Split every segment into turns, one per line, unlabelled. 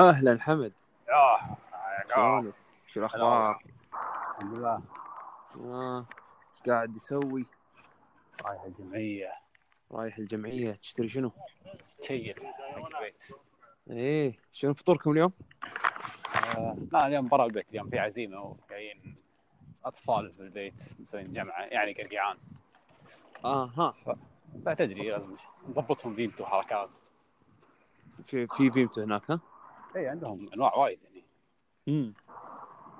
اهلا حمد
ياه
شلونك؟ شو الاخبار؟
آه، الحمد لله
آه، ايش قاعد تسوي؟
رايح الجمعية
رايح الجمعيه تشتري شنو؟
تشيك حق البيت
ايه شنو فطوركم اليوم؟
آه، لا اليوم برا البيت اليوم في عزيمة وجايين أطفال في البيت مسويين جمعة يعني قرقعان
اه ها
لا تدري لازم نضبطهم بيمتو وحركات
في في فيمتو هناك ها؟
اي عندهم أنواع وايد يعني
امم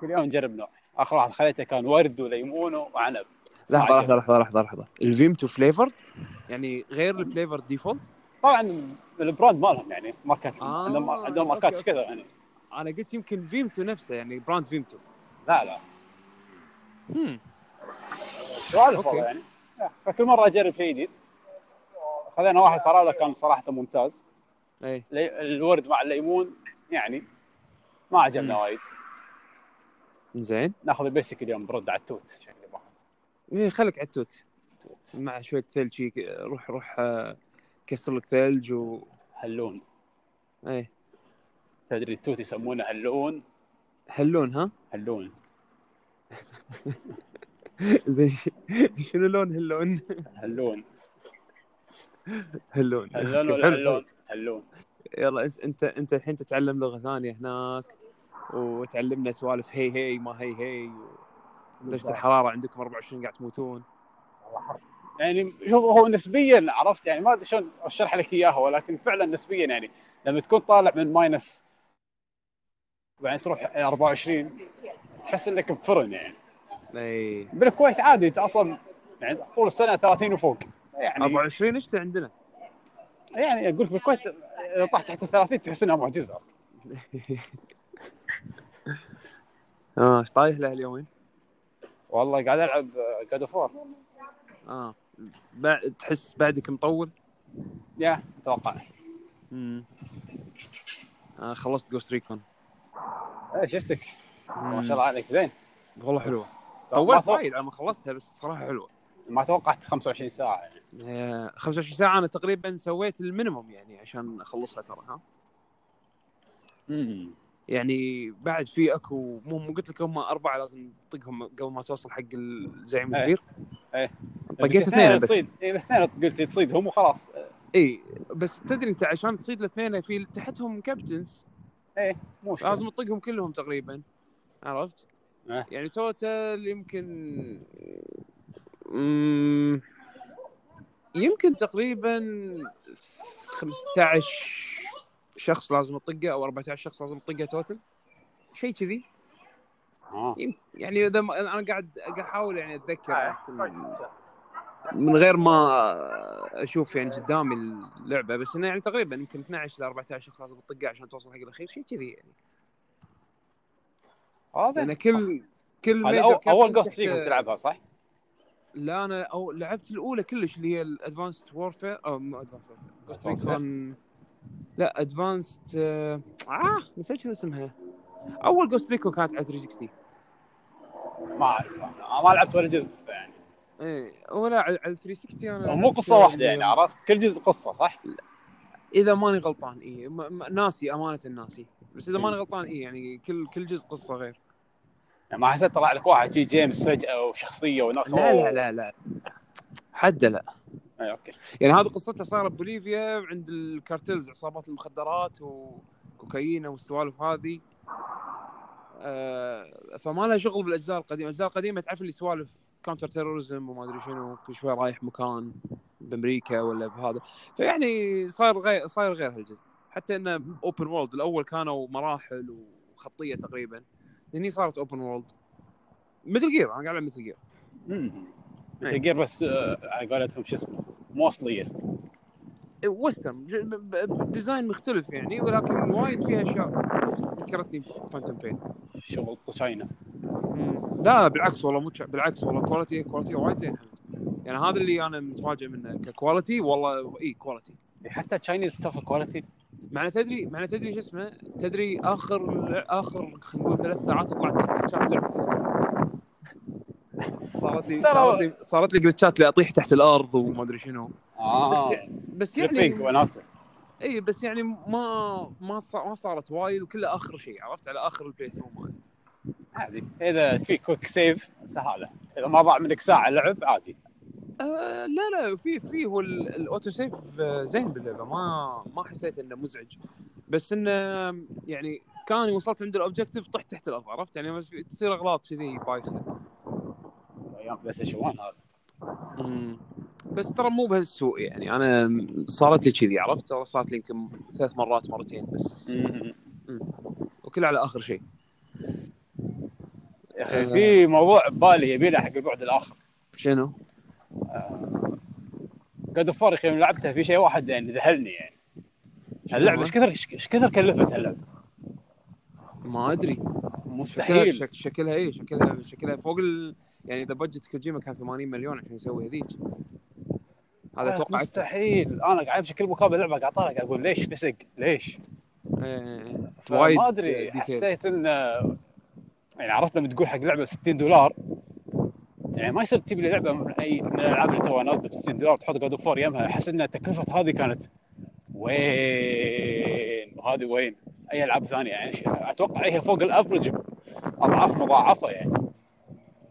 كل يوم نجرب نوع آخر واحد خليته كان ورد وليمون وعنب
لحظه
عجب.
لحظه لحظه لحظه لحظه الفيمتو فليفرد يعني غير الفليفر ديفولت
طبعا البراند مالهم يعني ماركات
آه،
عندهم عندهم
أوكي،
ماركات
أوكي.
كذا يعني
انا قلت يمكن فيمتو نفسه يعني براند فيمتو
لا لا
امم
سؤال
أوكي.
والله يعني فكل مره اجرب شيء جديد خذينا واحد فراوله كان صراحه ممتاز
ايه
لي- الورد مع الليمون يعني ما عجبنا
مم.
وايد
زين
ناخذ البيسك اليوم برد على التوت شكلي باخذ
ايه خليك عتوت
التوت.
مع شويه ثلج شي، روح روح آه، كسر لك ثلج و
هلون
ايه
تدري التوت يسمونه هلون
هاللون ها؟
هلون
زين شنو لون هاللون؟
هلون
هاللون
هلون
أوكي،
ولا
حلو،
هلون هلون
يلا انت انت انت الحين تتعلم لغه ثانيه هناك وتعلمنا سوالف هي هي ما هي هي و- درجه الحراره عندكم 24 قاعد تموتون
يعني شوف هو نسبيا عرفت يعني ما ادري شلون اشرح لك اياها ولكن فعلا نسبيا يعني لما تكون طالع من ماينس وبعدين تروح 24 تحس انك بفرن يعني
اي
بالكويت عادي انت اصلا يعني طول السنه 30 وفوق يعني
24 شتا عندنا
يعني اقول لك بالكويت اذا طحت تحت ال 30 تحس انها معجزه اصلا
اه ايش طايح له اليومين؟
والله قاعد العب جاد اوف وور
اه بعد تحس بعدك مطول؟
يا اتوقع
امم آه خلصت جوست ريكون
إيه، شفتك ما شاء الله عليك زين
والله حلوه
ما
طولت
أتوقع-
وايد على ما خلصتها بس صراحه حلوه
ما توقعت 25 ساعه يعني
آه، 25 ساعة أنا تقريبا سويت المينيموم يعني عشان أخلصها ترى ها
امم
يعني بعد في اكو مو مو قلت لك هم أربعة لازم تطقهم قبل ما توصل حق ال- زعيم
إيه.
الكبير
إيه.
طقيت اثنين بس
تصيد اي اثنين قلت تصيدهم وخلاص
اي بس تدري انت عشان تصيد الاثنين في تحتهم كابتنز
مو مشكلة.
لازم تطقهم كلهم تقريبا عرفت؟
إيه.
يعني توتال يمكن مم، يمكن تقريبا 15 شخص لازم تطقه او 14 شخص لازم تطقه توتل شيء كذي
آه.
يعني اذا ما انا قاعد قاعد احاول يعني اتذكر
طيب.
من غير ما اشوف يعني قدامي اللعبه بس انه يعني تقريبا يمكن 12 ل 14 شخص لازم تطقه عشان توصل حق الاخير شيء كذي يعني
آه، زين. آه.
لان كل كل
هذا
major
أول-
captain
اول جوست
تحت-
ريكون تلعبها صح؟
لا انا أو لعبت الاولى كلش اللي هي الادفانسد وورفير او مو ادفانسد جوست ريكون لا ادفانسد اه نسيت شنو اسمها اول جوست ريكون كانت على 360
ما اعرف أنا ما لعبت ولا جزء يعني
ايه ولا على على 360 انا
مو قصه
لعبت-
واحده يعني عرفت كل جزء قصه صح؟
اذا ماني غلطان اي م- م- ناسي امانه ناسي بس اذا ماني غلطان اي يعني كل كل جزء قصه غير
يعني ما حسيت طلع لك واحد شي جيمس فجاه وشخصيه وناس
لا لا لا لا حد لا
اي اوكي
يعني هذه قصتها صارت بوليفيا عند الكارتلز عصابات المخدرات وكوكايينا والسوالف هذه آه، فما لها شغل بالاجزاء القديمه، الاجزاء القديمه تعرف اللي سوالف كاونتر تيرورزم وما ادري شنو كل شوي رايح مكان بامريكا ولا بهذا فيعني صاير غير صاير غير هالجزء حتى انه اوبن وورلد الاول كانوا مراحل وخطيه تقريبا هني صارت اوبن وورلد مثل جير انا قاعد العب مثل جير أي.
جير بس آه، على قولتهم شو اسمه مو اصليه
وسترن ج- ب- ب- ديزاين مختلف يعني ولكن وايد فيها اشياء ذكرتني بفانتوم بين
شغل طشاينه
لا بالعكس والله مو تش- بالعكس والله كواليتي كواليتي وايد زين حمد. يعني هذا اللي انا متفاجئ منه ككواليتي والله اي كواليتي
حتى تشاينيز ستاف كواليتي
معنى تدري معنى تدري شو اسمه تدري اخر اخر خلينا نقول ثلاث ساعات طلعت جلتشات لعبه صارت لي
ترى-
صارت لي صارت لي جلتشات اللي اطيح تحت الارض وما ادري شنو
اه
بس يعني
فليبينج وناسه
اي بس يعني ما ما صار ما صارت وايد وكلها اخر شيء عرفت على اخر البلاي ثرو مالي
عادي اذا في كويك سيف سهاله اذا ما ضاع منك ساعه لعب عادي
آه لا لا في في هو ال- الاوتو سيف آه، زين باللعبه ما ما حسيت انه مزعج بس انه يعني كان وصلت عند الاوبجيكتيف طحت تحت الارض عرفت يعني بس تصير اغلاط كذي بايخه
ايام بلاي ستيشن 1 هذا
أمم. بس ترى مو بهالسوء يعني انا صارت لي كذي عرفت ترى صارت لي يمكن ثلاث مرات مرتين بس وكل على اخر شيء
يا اخي في موضوع ببالي يبي له حق البعد الاخر
شنو؟
جاد اوف وار يوم لعبتها في شيء واحد يعني ذهلني يعني هاللعبه ايش كثر ايش كثر كلفت هاللعبه
ما ادري شكلها
مستحيل
شك شكلها اي شكلها شكلها فوق ال... يعني اذا بجت كوجيما كان 80 مليون عشان يسوي هذيك هذا اتوقع أكثر.
آه، مستحيل انا قاعد امشي كل مقابل لعبه قاعد طالع قاعد اقول ليش فسق ليش
إيه. وايد
ما ادري
ديتيل.
حسيت ان يعني عرفت لما تقول حق لعبه 60 دولار يعني ما يصير تجيب لي لعبه من اي من الالعاب اللي توها نازله ب 60 دولار تحط جاد اوف وور يمها احس ان تكلفه هذه كانت وين وهذه وين اي العاب ثانيه يعني ش- اتوقع هي فوق الافرج اضعاف مضاعفه يعني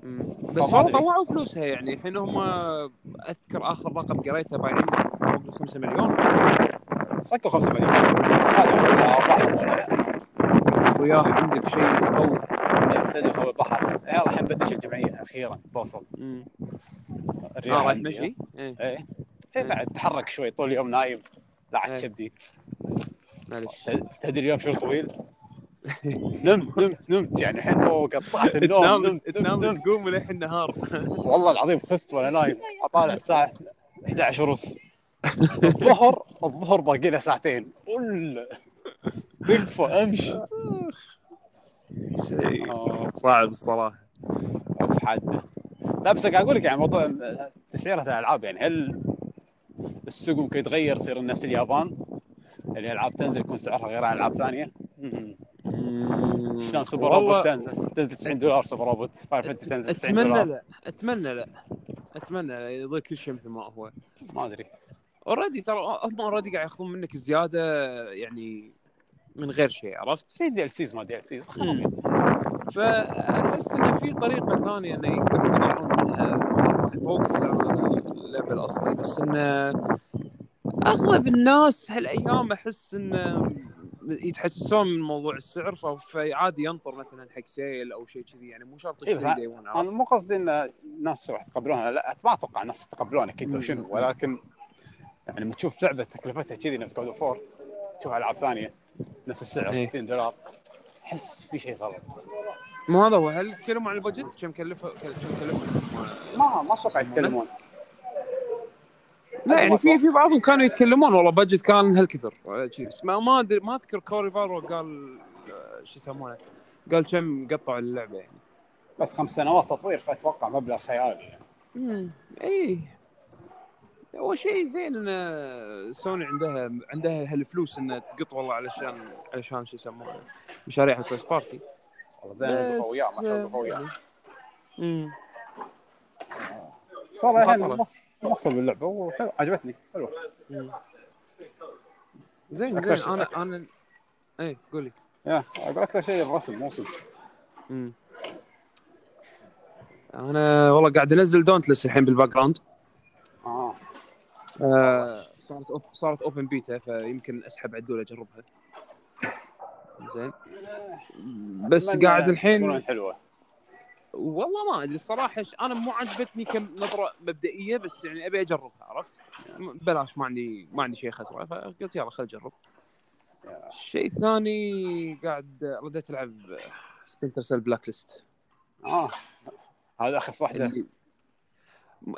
مم. بس
فما
هم
أدري.
طوعوا فلوسها يعني الحين هم اذكر اخر رقم قريته بايعين فوق ال 5 مليون
صكوا 5 مليون بس هذه ولا بحر ولا
ويا عندك شيء قوي
يعني تدري هو بحر يلا الحين بدش الجمعيه اخيرا بوصل
مم. اه
الرياح
رايح
عندي.
مشي ايه
ايه
إيه.
ايه بعد تحرك شوي طول اليوم نايم
إيه.
لعت كبدي
معلش
تدري اليوم شو طويل نمت نمت نمت يعني الحين أوه، قطعت النوم
تنام
نمت نمت
تنام
نمت
تقوم للحين نهار
والله العظيم خست وانا نايم اطالع الساعه 11 ونص الظهر الظهر باقي له ساعتين قول تكفى امشي آه،
صعب الصراحه
اوف حد لا بس قاعد اقول لك يعني موضوع تسعيره الالعاب يعني هل السوق ممكن يتغير يصير نفس اليابان اللي العاب تنزل يكون سعرها غير عن العاب ثانيه شلون سوبر روبوت
والله
تنزل تنزل 90 دولار سوبر روبوت فاير فانتسي تنزل 90
اتمنى
دولار
لا اتمنى لا اتمنى لا يضل كل شيء مثل ما هو
ما ادري
اوريدي ترى هم اوريدي قاعد ياخذون منك زياده يعني من غير شيء عرفت؟
في دي ال سيز ما دي ال سيز
فاحس انه في طريقه ثانيه انه يقدرون يطلعون منها فوق سعر اللعبه الاصلي بس انه اغلب الناس هالايام احس انه يتحسسون من موضوع السعر ف- فعادي ينطر مثلا حق سيل او شيء كذي يعني مو شرط
إيه،
يشتري
بس-
دي ون
انا مو قصدي ان الناس راح يتقبلونها لا ما اتوقع الناس يتقبلون اكيد لو شنو ولكن يعني لما تشوف لعبه تكلفتها كذي نفس جود اوف تشوف العاب ثانيه نفس السعر
إيه.
60 دولار احس في شيء غلط
مو هذا هو هل تكلموا عن البادجت كم كلفه كم كلفه
ما ما اتوقع يتكلمون
لا يعني في في بعضهم كانوا يتكلمون والله بجت كان هالكثر آه، شي. بس ما ما ادري ما اذكر كوري بارو قال آه، شو يسمونه قال كم قطعوا اللعبه يعني
بس خمس سنوات تطوير فاتوقع مبلغ خيالي يعني.
امم اي هو شيء زين ان سوني عندها عندها هالفلوس انها تقط والله علشان علشان شو يسمونه مشاريع الفيرست بارتي
والله زين قفوا وياه ما شاء الله قفوا
يعني.
وياه
امم
صار يعني الحين
مخاطرة.
نص نوصل باللعبه وحلو عجبتني حلو
أمم. زين
أكثر
زين
شيء-
انا انا اي قولي
يا اقول اكثر شيء الرسم موسم
امم انا والله قاعد انزل دونتلس الحين بالباك جراوند
اه
آه، صارت أوب... صارت اوبن بيتا فيمكن اسحب عدول اجربها زين بس
أتمنى
قاعد
تكون
الحين
حلوه
والله ما ادري الصراحه ش- انا مو عجبتني كم نظره مبدئيه بس يعني ابي اجربها عرفت؟ م- بلاش ما عندي ما عندي شيء خسره فقلت يلا خل اجرب الشيء الثاني قاعد رديت العب سبنتر سيل بلاك ليست
اه هذا اخس واحده
اللي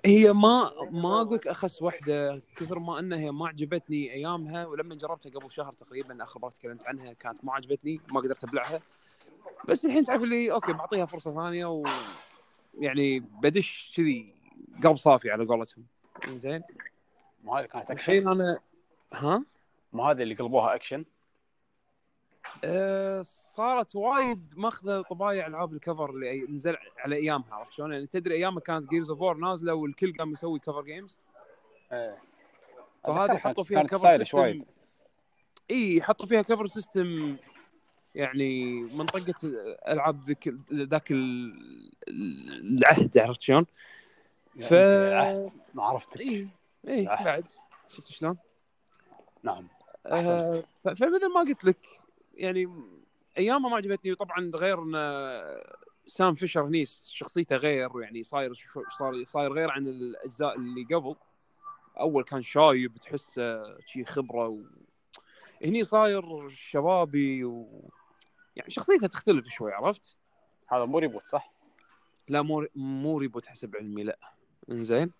هي ما ما اقول لك اخس واحده كثر ما انها هي ما عجبتني ايامها ولما جربتها قبل شهر تقريبا اخر مره تكلمت عنها كانت ما عجبتني ما قدرت ابلعها بس الحين تعرف لي اوكي بعطيها فرصه ثانيه و يعني بدش كذي قلب صافي على قولتهم زين
مو هذه كانت اكشن
الحين انا ها
مو هذه اللي قلبوها اكشن
أه صارت وايد ماخذه طبايع العاب الكفر اللي نزل على ايامها عرفت شلون؟ يعني تدري ايامها كانت جيمز اوف وور نازله والكل قام يسوي كفر جيمز
ايه
إيه. فهذه حطوا فيها
كانت
كفر
ستايلش
سيستم
وايد
اي حطوا فيها كفر سيستم يعني منطقه العاب ذاك ذاك ال- العهد عرفت شلون؟ ف إيه.
يعني ما عرفتك
اي اي
العهد.
بعد شفت شلون؟
نعم
آه، ف- فمثل ما قلت لك يعني ايامها ما عجبتني وطبعا غير ان آه، سام فيشر هني شخصيته غير يعني صاير شو- صار صاير غير عن الاجزاء اللي قبل اول كان شايب تحسه شي خبره و... هني صاير شبابي و... يعني شخصيته تختلف شوي عرفت؟
هذا مو ريبوت صح؟
لا مو مو ريبوت حسب علمي لا انزين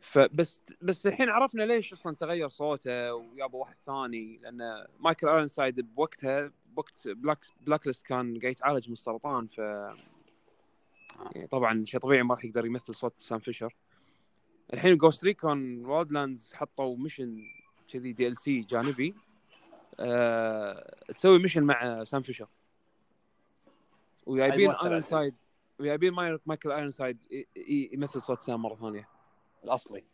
فبس بس الحين عرفنا ليش اصلا تغير صوته ويابا واحد ثاني لان مايكل الين سايد بوقتها بوقت بلاك بلاك ليست كان قاعد يتعالج من السرطان ف يعني طبعا شيء طبيعي ما راح يقدر يمثل صوت سام فيشر الحين جوست ريكون وايلد لاندز حطوا ميشن كذي دي ال سي جانبي أه... تسوي ميشن مع سام فيشر وجايبين
الممثل
ايرون
عزيز.
سايد وجايبين مايك- مايكل ايرون سايد يمثل صوت سام مره ثانيه
الاصلي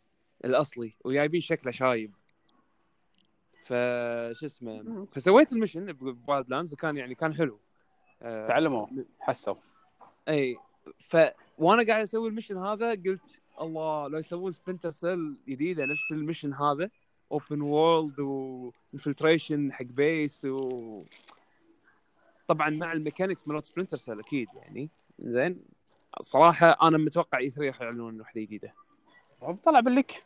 الاصلي وجايبين شكله شايب ف شو اسمه فسويت المشن بوايلد لاندز وكان يعني كان حلو آه،
تعلموا حسوا
اي ف وانا قاعد اسوي المشن هذا قلت الله لو يسوون سبنتر سيل جديده نفس المشن هذا اوبن وورلد وانفلتريشن حق بيس و طبعا مع الميكانكس مالت سبنتر سيل اكيد يعني زين صراحه انا متوقع E اي 3 راح يعلنون وحده جديده
طلع بالليك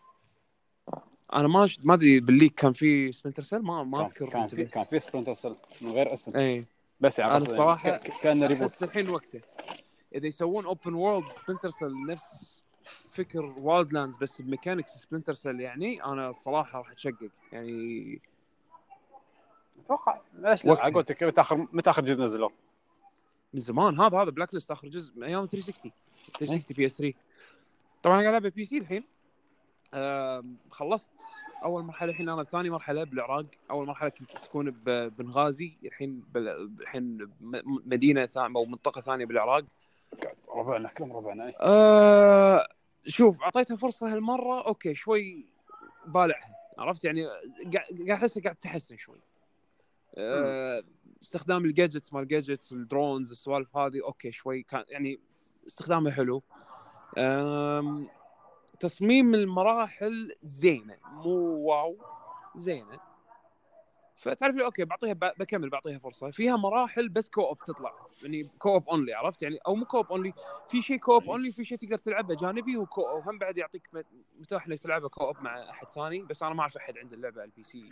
انا ما ش... ما ادري بالليك كان في سبنتر سيل ما ما
كان-
اذكر
كان في
انتبهت.
كان في سبرنتر سيل من غير اسم
اي
بس يعني
إيه. أنا
قصدي
الصراحة
ك- ك- كان
احس
ريبوت
الحين وقته اذا يسوون اوبن وورلد سبنتر سيل نفس فكر وايلد لاندز بس بميكانكس سبنتر سيل يعني انا الصراحه راح اتشقق يعني
اتوقع ليش لا
وقتها.
على قولتك متى اخر متى اخر جزء نزلوه؟
من زمان هذا هذا بلاك ليست اخر جزء من ايام 360 360 بي اس 3 طبعا انا قاعد العب بي سي الحين آم، خلصت اول مرحله الحين انا ثاني مرحله بالعراق اول مرحله كنت تكون ب- بنغازي الحين بال- الحين م- مدينه ثانيه او منطقه ثانيه بالعراق
قاعد ربعنا كلهم ربعنا إيه.
آه شوف اعطيتها فرصه هالمره اوكي شوي بالعها عرفت يعني قاعد- قاعد احسها قاعد تحسن شوي آه استخدام الجادجتس مال الجادجتس الدرونز السوالف هذه اوكي شوي كان يعني استخدامها حلو آم تصميم المراحل زينه مو واو زينه فتعرف لي اوكي بعطيها ب- بكمل بعطيها فرصه فيها مراحل بس كوب تطلع يعني كوب اونلي عرفت يعني او مو كوب اونلي في شيء كوب اونلي في شيء تقدر تلعبه جانبي وكو وهم بعد يعطيك مت- متاح انك تلعبه كوب مع احد ثاني بس انا ما اعرف احد عنده اللعبه على البي سي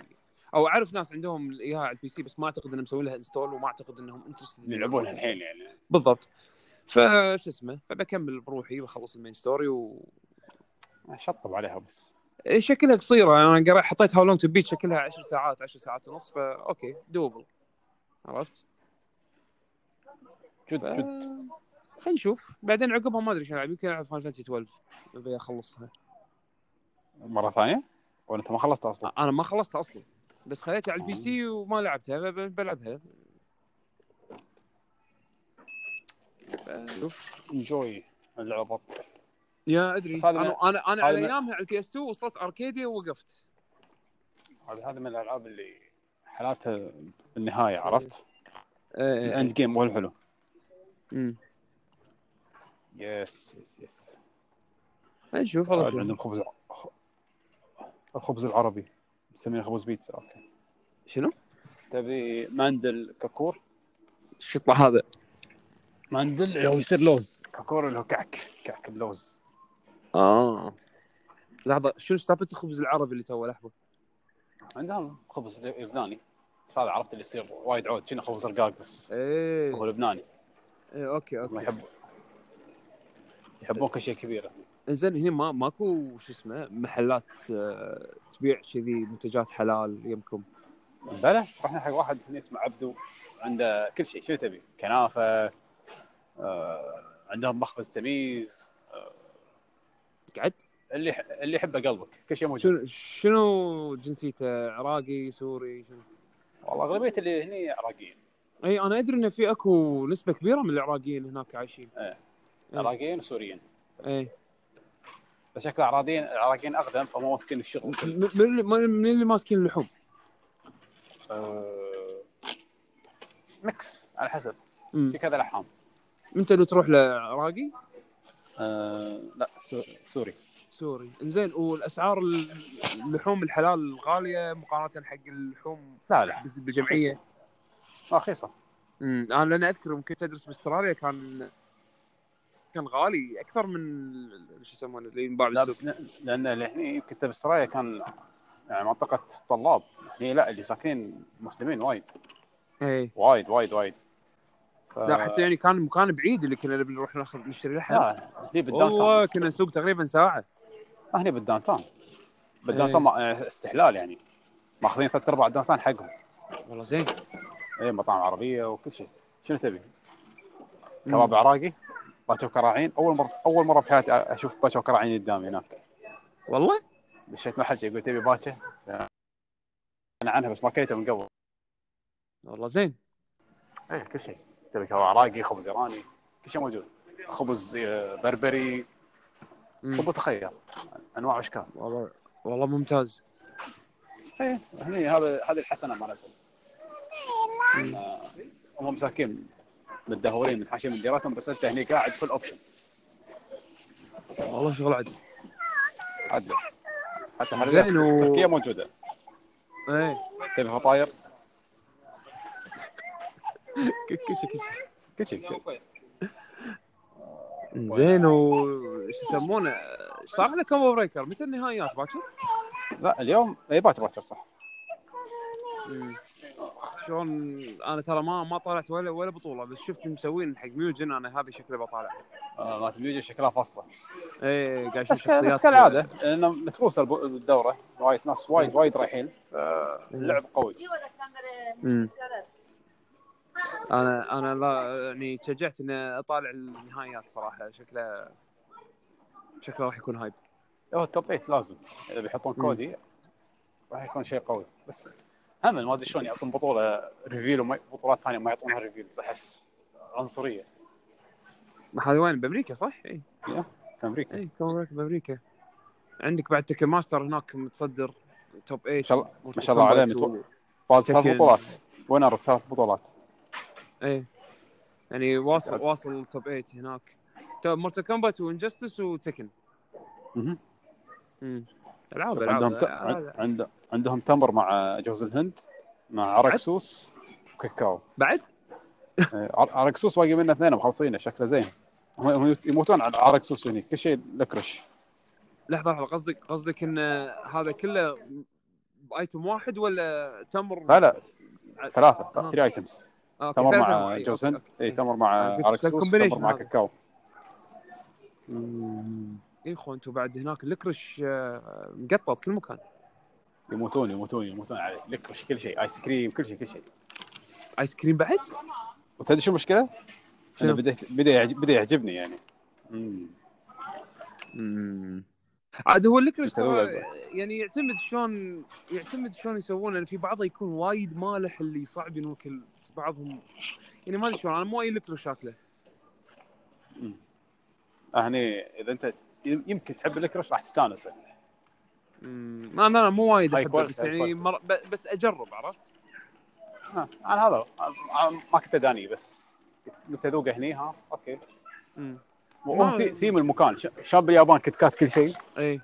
او اعرف ناس عندهم اياها على البي سي بس ما اعتقد انهم مسوين لها انستول وما اعتقد انهم انترستد
يلعبونها الحين يعني
بالضبط فش اسمه فبكمل بروحي بخلص المين ستوري و
شطب عليها بس
إيه، شكلها قصيره انا قرأ حطيت هاو لونج تو بيت شكلها 10 ساعات 10 ساعات ونص فاوكي دوبل عرفت؟
جد
ف...
جد
خلينا نشوف بعدين عقبها ما ادري شنو العب يمكن العب فاينل فانتسي 12 ابي اخلصها
مره ثانيه ولا انت ما خلصت اصلا؟
انا ما خلصتها اصلا بس خليتها على البي سي
آه.
وما لعبتها ب- بلعبها ف- شوف
انجوي اللعبه
يا ادري
بس هذا
انا انا انا
هذا
على
ما-
ايامها على البي اس 2 وصلت اركيديا ووقفت
هذه هذه من الالعاب اللي حالاتها بالنهايه عرفت؟ يعني
ايه
الاند جيم مو الحلو
امم
يس يس يس
نشوف والله
عاد
شوف.
عندهم خبز خ- الخبز العربي مسمينه خبز بيتزا اوكي
شنو؟
تبي ماندل كاكور
شو يطلع هذا؟
ماندل لو يصير لوز كاكور اللي هو كعك كعك اللوز
اه لحظه شنو سالفه الخبز العربي اللي تو لحظه
عندهم خبز لب- لبناني بس هذا عرفت اللي يصير وايد عود كنا خبز رقاق بس هو
ايه
لبناني
ايه اوكي
ما
اوكي
يحب يحبون كل شيء كبير
زين هنا ما ماكو شو اسمه محلات آه، تبيع كذي منتجات حلال يمكم
بلى رحنا حق واحد هنا اسمه عبدو عنده كل شيء شو تبي؟ كنافه آه، عندهم مخبز تميز آه،
قعد
اللي اللي يحبه قلبك كل شيء
شنو
موجود
شنو جنسيته عراقي سوري شنو إيه،
والله اغلبيه اللي هني عراقيين
اي انا ادري ان في اكو نسبه كبيره من العراقيين هناك عايشين إيه.
عراقيين وسوريين
اي
بس شكل العراقيين العراقيين اقدم فما ماسكين الشغل
من من- من اللي ماسكين اللحوم
آه، ميكس على حسب
مم.
في كذا لحام
انت لو تروح لعراقي
آه، لا سو- سوري
سوري انزين والاسعار ال- اللحوم الحلال غاليه مقارنه حق اللحوم
لا لا
بالجمعيه
رخيصه
امم انا لان اذكر يوم كنت ادرس باستراليا كان كان غالي اكثر من ال- شو يسمونه اللي ينباع
لا
بالسوق
بس ل- لان اللي هني كنت باستراليا كان يعني منطقه طلاب هني لا اللي ساكنين مسلمين وايد
اي
وايد وايد وايد ف...
إيه. لا حتى يعني كان مكان بعيد اللي كنا بنروح ناخذ نشتري لحم
لا آه، هني بالداون تاون آه،
والله كنا نسوق تقريبا ساعه
هني بالداون تاون بالداون
إيه.
تاون ما- استحلال يعني ماخذين ثلاث ارباع الداون تاون حقهم
والله زين
اي مطاعم عربيه وكل شيء شنو تبي؟ كباب عراقي باتشو كراعين اول مره اول مره بحياتي اشوف باتشو كراعين قدامي هناك
والله
مشيت محل شي يقول تبي باتشا انا عنها بس ما كليته من قبل
والله زين
ايه كل شيء تبي كباب عراقي خبز ايراني كل شيء موجود خبز آه، بربري
مم.
خبز تخيل انواع واشكال
والله والله ممتاز
ايه هني هذا هذه الحسنه مالتهم آه، هم مساكين متدهورين من حاشيه من ديرتهم بس انت هني قاعد فل اوبشن
والله شغل عدل
عدل حتى
زين
هذه
و-
التركيه موجوده
ايه
تبي فطاير
كشك كشك
كل شيء
زين و شو يسمونه صار لنا كم بريكر متى النهائيات باكر؟
لا اليوم إيه، اي باكر باكر صح
إيه. شلون انا ترى ما ما طلعت ولا ولا بطوله بس شفت مسوين حق ميوجن انا هذا شكله بطالع
آه، مالت اليوجي شكلها فاصله
ايه قاعد اشوف
بس ك- بس
شخصيات
كالعاده لانه متروسه الب- الدوره وايد ناس وايد وايد رايحين فاللعب قوي
إيه. مم. انا انا لا يعني تشجعت اني اطالع النهائيات صراحه شكله شكله راح يكون هايب
هو التوب 8 لازم اذا بيحطون
مم.
كودي راح يكون شيء قوي بس هم ما ادري شلون يعطون بطوله ريفيل وما بطولات ثانيه ما يعطونها ريفيل احس عنصريه
هذا وين بامريكا صح؟ إيه، اي
في امريكا
اي كومبريك بامريكا عندك بعد تكن ماستر هناك متصدر توب 8 ما
شاء الله- ما شاء الله عليه متصدر. فاز ثلاث
تكن.
بطولات وينر ثلاث بطولات
ايه يعني واصل واصل توب 8 هناك مورتال كومبات وانجستس وتكن
مهم.
امم العاب العاب
عندهم ت... عن-
آه،
عند... عندهم تمر مع جوز الهند مع عرقسوس وكاكاو
بعد
آه، عر- عرقسوس باقي منه اثنين مخلصينه شكله زين هم هم يموتون على عرقسوس هني كل شيء لكرش
لحظه لحظه قصدك قصدك ان هذا كله بايتم واحد ولا تمر
لا لا ثلاثه
آه.
ثري ايتمز
آه، أوكي،
إيه، تمر
ثلاثة
مع
أوكي،
جوز
أوكي،
هند
أوكي.
اي تمر مع
أنا قلت
عرقسوس
combination
تمر مع
هذا.
كاكاو
إيه، اخو انتم بعد هناك الكرش آه، مقطط كل مكان
يموتون يموتون يموتون عليه لكرش كل شيء ايس كريم كل شيء كل شيء
ايس كريم بعد
وتدري شو المشكله؟
شنو؟
انا بديت بدا يعجب بدا يعجبني يعني مم.
امم عاد هو الكرش
أنت أولى
ترى يعني يعتمد شلون يعتمد شلون يسوونه لان في بعضه يكون وايد مالح اللي صعب ينوكل بعضهم يعني ما ادري شلون انا مو اي الكرش شكله
مم. آه، هني اذا انت يمكن تحب الكرش راح تستانس
امم لا لا لا، مو وايد
هاي
احبه
كواليتي،
بس
هاي
يعني
كواليتي.
مر... ب- بس اجرب عرفت؟
ها، انا هذا أنا ما كنت اداني بس كنت اذوقه هني ها اوكي
امم
وهو ثي- ثيم المكان ش- شاب باليابان كت كات كل شيء
اي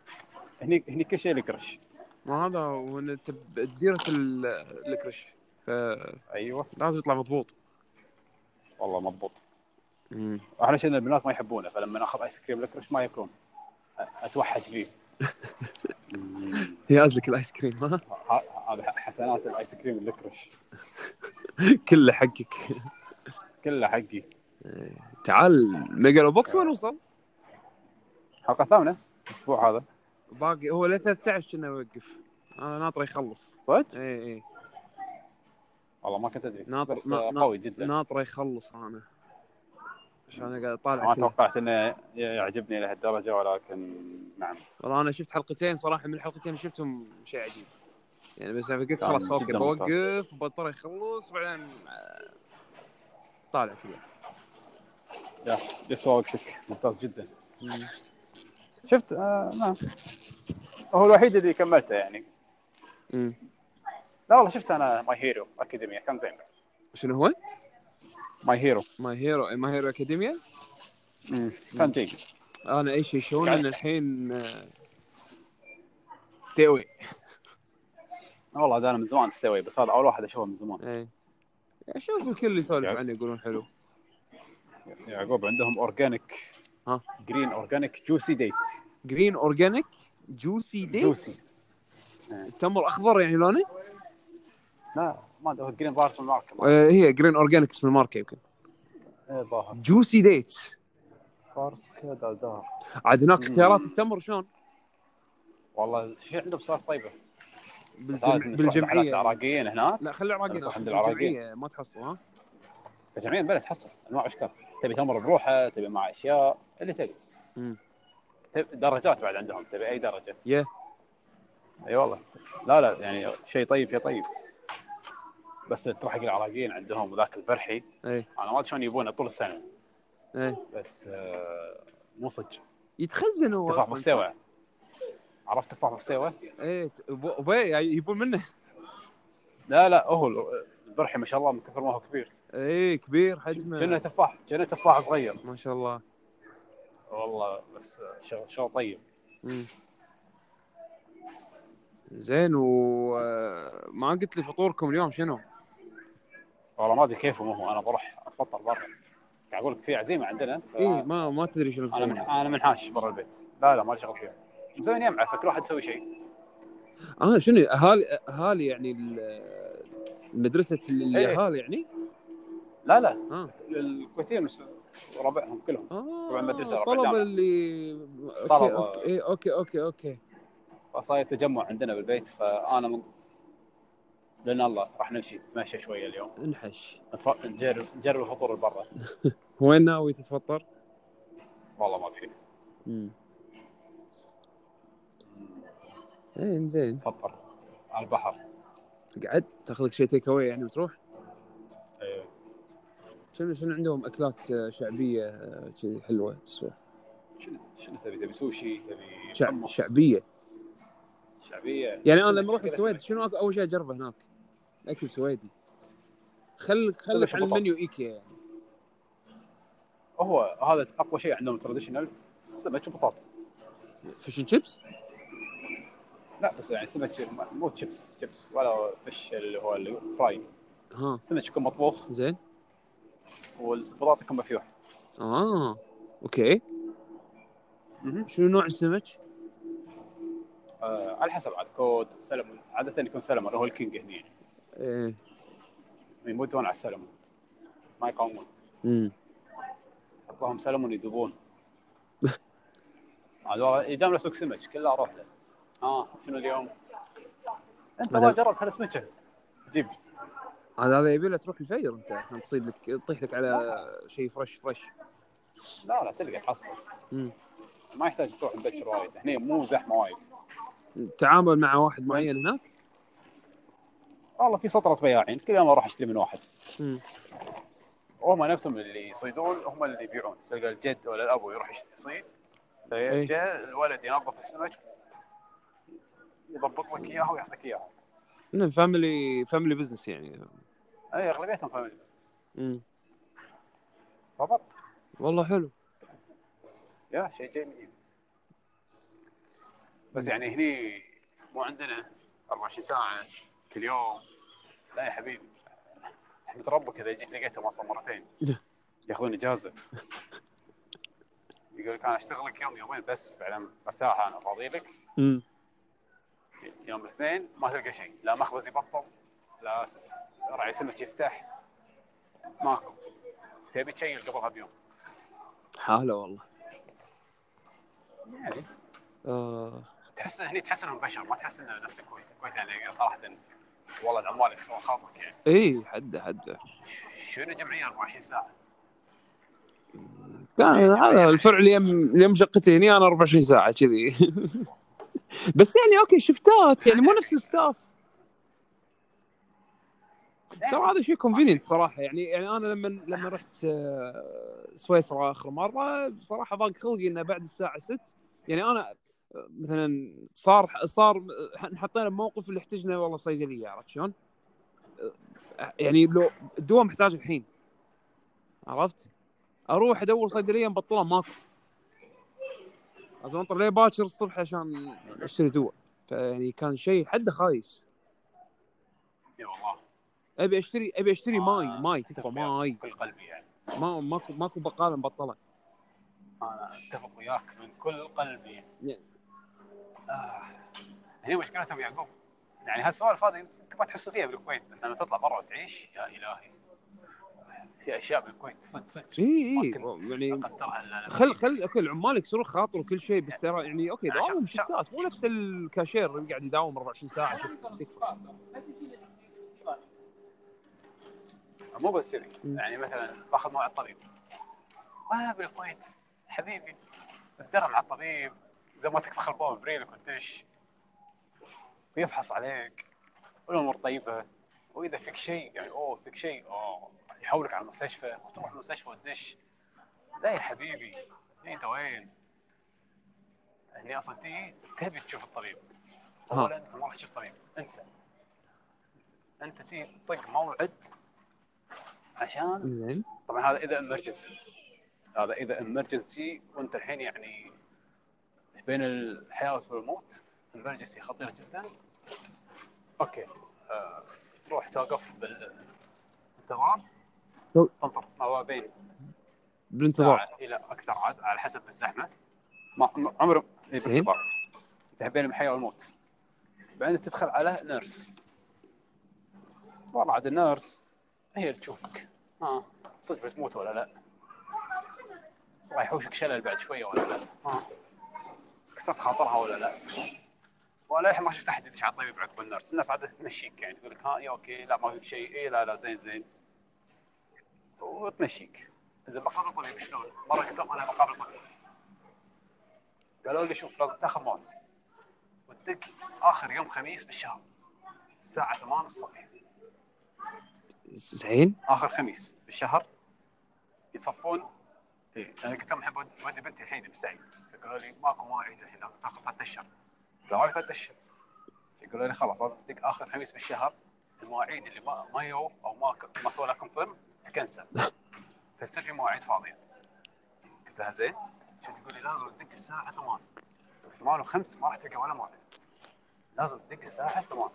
هني هني كل شيء لكرش
ما هذا هو إن أنت بديرة ال- الكرش فلازم
ايوه
يطلع مضبوط
والله مضبوط
امم
احنا شلنا البنات ما يحبونه فلما ناخذ ايس كريم لكرش ما ياكلون أ- اتوحش فيه مم.
ياز لك الايس كريم ها
ه- هذا حسنات الايس كريم اللكرش
كله حقك
كله حقي
تعال ميجالو بوكس وين وصل؟
حلقه ثامنه الاسبوع هذا
باقي هو ل 13 كنا يوقف انا ناطره يخلص
صدق؟
اي اي
والله ما كنت ادري
ناطر-
بس
نا- نا-
قوي جدا
ناطره يخلص انا عشان أنا قاعد اطالع
ما
كله.
توقعت انه يعجبني لهالدرجه ولكن نعم
والله انا شفت حلقتين صراحه من الحلقتين اللي شفتهم شيء عجيب يعني بس انا قلت
كان
خلاص اوكي
جداً ممتاز.
بوقف بضطر يخلص وبعدين آه، طالع كذا
يا يسوى وقتك ممتاز جدا
مم.
شفت آه نعم هو الوحيد اللي كملته يعني
مم.
لا والله شفت انا ماي هيرو اكاديميا كان زين بعد
شنو هو؟
ماي هيرو
ماي هيرو ماي هيرو اكاديميا
كان جيد
انا اي شيء شونن الحين آه، تيوي
والله هذا انا من زمان استوي بس هذا اول واحد اشوفه من زمان
اي اشوف إيه. الكل يسولف
يعني-
عنه يقولون حلو
يعقوب عندهم اورجانيك
ها.
جرين اورجانيك جوسي ديتس
جرين اورجانيك جوسي دي
جوسي
التمر اخضر يعني لونه
لا ما ادري جرين بارس من الماركه
آه، هي جرين اورجانيك اسم الماركه يمكن
إيه، ظاهر
جوسي ديتس
بارس كذا دار
عاد هناك
مم.
اختيارات التمر شلون؟
والله شيء عندهم صار طيبه بس عاد
بالجم...
نروح محلات
بالجمعيه
العراقيين هناك
لا خلي العراقيين
نروح عند
بالجمعيه ما تحصل ها
فجميع بلد تحصل انواع اشكال تبي تمر بروحه تبي مع اشياء اللي تبي
مم.
تبي درجات بعد عندهم تبي اي درجه
Yeah.
اي والله لا لا يعني شيء طيب شيء طيب بس تروح حق العراقيين عندهم ذاك البرحي
اي
انا ما ادري شلون يبونه طول السنه
اي
بس آه، مو صدق
يتخزن هو
تفاح بسيوه عرفت تفاح بسيوه؟
اي يعني يبون منه
لا لا هو ال- البرحي ما شاء الله من كثر ما هو كبير
اي إيه، كبير
كأنه
حجمه
تفاح كأنه تفاح صغير
ما شاء الله
والله بس آه، شغل شغل طيب
مم. زين وما قلت لي فطوركم اليوم شنو؟
آه. والله ما ادري كيف مو هو انا بروح اتفطر برا قاعد اقول لك في عزيمه عندنا ف-
اي إيه، ما ما تدري شنو
انا من
تسوي
انا منحاش برا البيت لا لا ما لي شغل فيها مسوي يمعه فكل واحد يسوي شيء
انا آه، شنو اهالي اهالي يعني ال- مدرسه
إيه.
الاهالي يعني؟
لا لا
آه.
الكويتيين مس- ربعهم كلهم
اه
طبعاً مدرسة ربع
الطلبه
جامعة.
اللي اوكي
طلبة.
اوكي إيه، اوكي اوكي اوكي
فصاير تجمع عندنا بالبيت فانا من... لان الله راح نمشي نتمشى شويه اليوم
انحش
نتف- نجرب نجرب الفطور اللي برا
وين ناوي تتفطر؟
والله ما في
امم زين زين
فطر على البحر
إيه، قعد تاخذ لك شيء تيك اواي يعني وتروح
إيه.
شنو شنو عندهم اكلات آه، شعبيه آه، كذي حلوه تسوى
شنو شنو تبي تبي سوشي تبي
شعب
حمص؟
شعبيه
شعبيه
يعني انا لما اروح السويد شنو أك- اول شيء اجربه هناك؟ اكل سويدي خلك خلك
سلة
على
بطاطا.
المنيو ايكيا يعني
هو هذا اقوى شيء عندهم تراديشنال سمك وبطاطا
فيشن شيبس؟
لا بس يعني سمك مو تشيبس تشيبس ولا فش اللي هو الفرايد
ها
سمك يكون مطبوخ
زين
والبطاطا يكون مفيوح
اه اوكي شنو نوع السمك؟
آه على حسب عاد كود سلمون عاده يكون سلمون هو الكينج هنا يعني
ايه
يموتون على السلمون ما يقاومون
امم
يحطوهم سلمون يذوبون عاد والله يدام له سوق سمك كله اروح له اه شنو اليوم؟ انت ما
هذا-
جربت هالسمكه جيب
هذا هذا يبي له تروح الفير انت عشان تصيد لك تطيح لك على شيء فريش فريش
لا لا تلقى تحصل
مم.
ما يحتاج تروح مبكر وايد هنا مو زحمه وايد
تعامل مع واحد معين هناك
والله في سطره بياعين كل يوم اروح اشتري من واحد
مم.
وهم نفسهم اللي يصيدون هم اللي يبيعون تلقى الجد ولا الابو يروح يشت- يصيد
إيه.
فيجي الولد ينظف السمك يضبط لك اياها ويعطيك اياها
انه فاميلي فاميلي بزنس يعني
اي اغلبيتهم فاميلي بزنس
امم
بالضبط
والله حلو
يا شيء جميل بس يعني هني مو عندنا 24 ساعه كل يوم لا يا حبيبي احمد ربك اذا جيت لقيتهم اصلا مرتين ياخذون اجازه يقول لك انا اشتغل لك يوم يومين بس بعدين برتاح انا فاضي لك
امم
يوم الاثنين ما تلقى شيء لا مخبز يبطل لا س- راعي سمك يفتح ماكو تبي تشيل قبلها بيوم
حاله والله
يعني
آه.
تحس هني تحس انهم بشر ما تحس انه نفس الكويت الكويت يعني صراحه والله العمال يكسرون خاطرك يعني
اي إيه، حده حده
شنو جمعيه 24 ساعه
كان هذا الفرع اللي يم يم شقتي هني انا 24 ساعه كذي بس يعني اوكي شفتات يعني مو نفس الستاف ترى هذا شيء كونفينينت صراحه يعني يعني انا لما لما رحت آه، سويسرا اخر مره بصراحه ضاق خلقي انه بعد الساعه 6 يعني انا مثلا صار صار انحطينا بموقف اللي احتجنا والله صيدليه عرفت شلون؟ يعني لو الدواء محتاج الحين عرفت؟ اروح ادور صيدليه مبطله ماكو لازم انطر ليه باكر الصبح عشان اشتري دواء فيعني كان شيء حده خايس
اي والله
ابي اشتري ابي اشتري ماي ماي تكفى
أتفق
ماي
كل قلبي يعني
ما ماكو ماكو بقاله مبطله
انا اتفق وياك من كل قلبي
نعم.
آه. هي مشكلتهم يعقوب يعني هالسوالف هذه يمكن ما تحسوا فيها بالكويت بس لما تطلع برا وتعيش يا الهي في اشياء بالكويت صدق صدق
اي اي
ما
إيه،
كنت
يعني
اقدرها الا لما-
خل خل اوكي العمال يكسرون خاطر وكل شيء بس ترى يعني اوكي
يعني
داوم
شا- شا-
شفتات مو نفس الكاشير اللي قاعد يداوم 24 ساعه شفت تكفى
مو بس كذي
مم.
يعني مثلا باخذ موعد طبيب "آه، ما بالكويت حبيبي تدرب على الطبيب زي ما تكفخ الباب بريلك وتدش ويفحص عليك والامور طيبه واذا فيك شيء يعني اوه فيك شيء اوه يحولك على المستشفى وتروح المستشفى وتدش لا يا حبيبي انت وين؟ يعني اصلا تي تبي تشوف الطبيب
ها.
اولا انت ما راح تشوف طبيب انسى انت تي طق موعد عشان
زين
طبعا هذا اذا امرجنسي هذا اذا امرجنسي وانت الحين يعني بين الحياه والموت امرجنسي خطير جدا اوكي آه، تروح توقف بالانتظار
لو-
تنطر ما بين
بالانتظار
ساعه الى اكثر عاد على حسب الزحمه ما ما- عمره إيه،
زين.
بالانتظار انت بين الحياه والموت بعدين تدخل على نيرس والله عاد النيرس هي اللي تشوفك ها صدق بتموت ولا لا صح يحوشك شلل بعد شويه ولا لا ها كسرت خاطرها ولا لا ولا الحين ما شفت احد يدش على الطبيب عقب النيرس الناس عاده تمشيك يعني تقول لك ها يا اوكي لا ما فيك شيء اي لا لا زين زين وتمشيك اذا مقابل طبيب شلون؟ مره قلت لهم انا مقابل طبيب قالوا لي شوف لازم تاخذ موعد ودك اخر يوم خميس بالشهر الساعه 8 الصبح
زين
اخر خميس بالشهر يصفون إيه. انا قلت لهم احب أود- اودي بنتي الحين مستعجل فقالوا لي ماكو مواعيد الحين لازم تاخذ ثلاث اشهر قلت لهم ثلاث اشهر يقولوا لي خلاص لازم تدق اخر خميس بالشهر المواعيد اللي ما ما يو او ما ك- ما سووا لها كونفيرم تكنسل فيصير في مواعيد فاضيه قلت لها زين شو تقول لي لازم تدق الساعه 8 8 و5 ما راح تلقى ولا موعد لازم تدق الساعه 8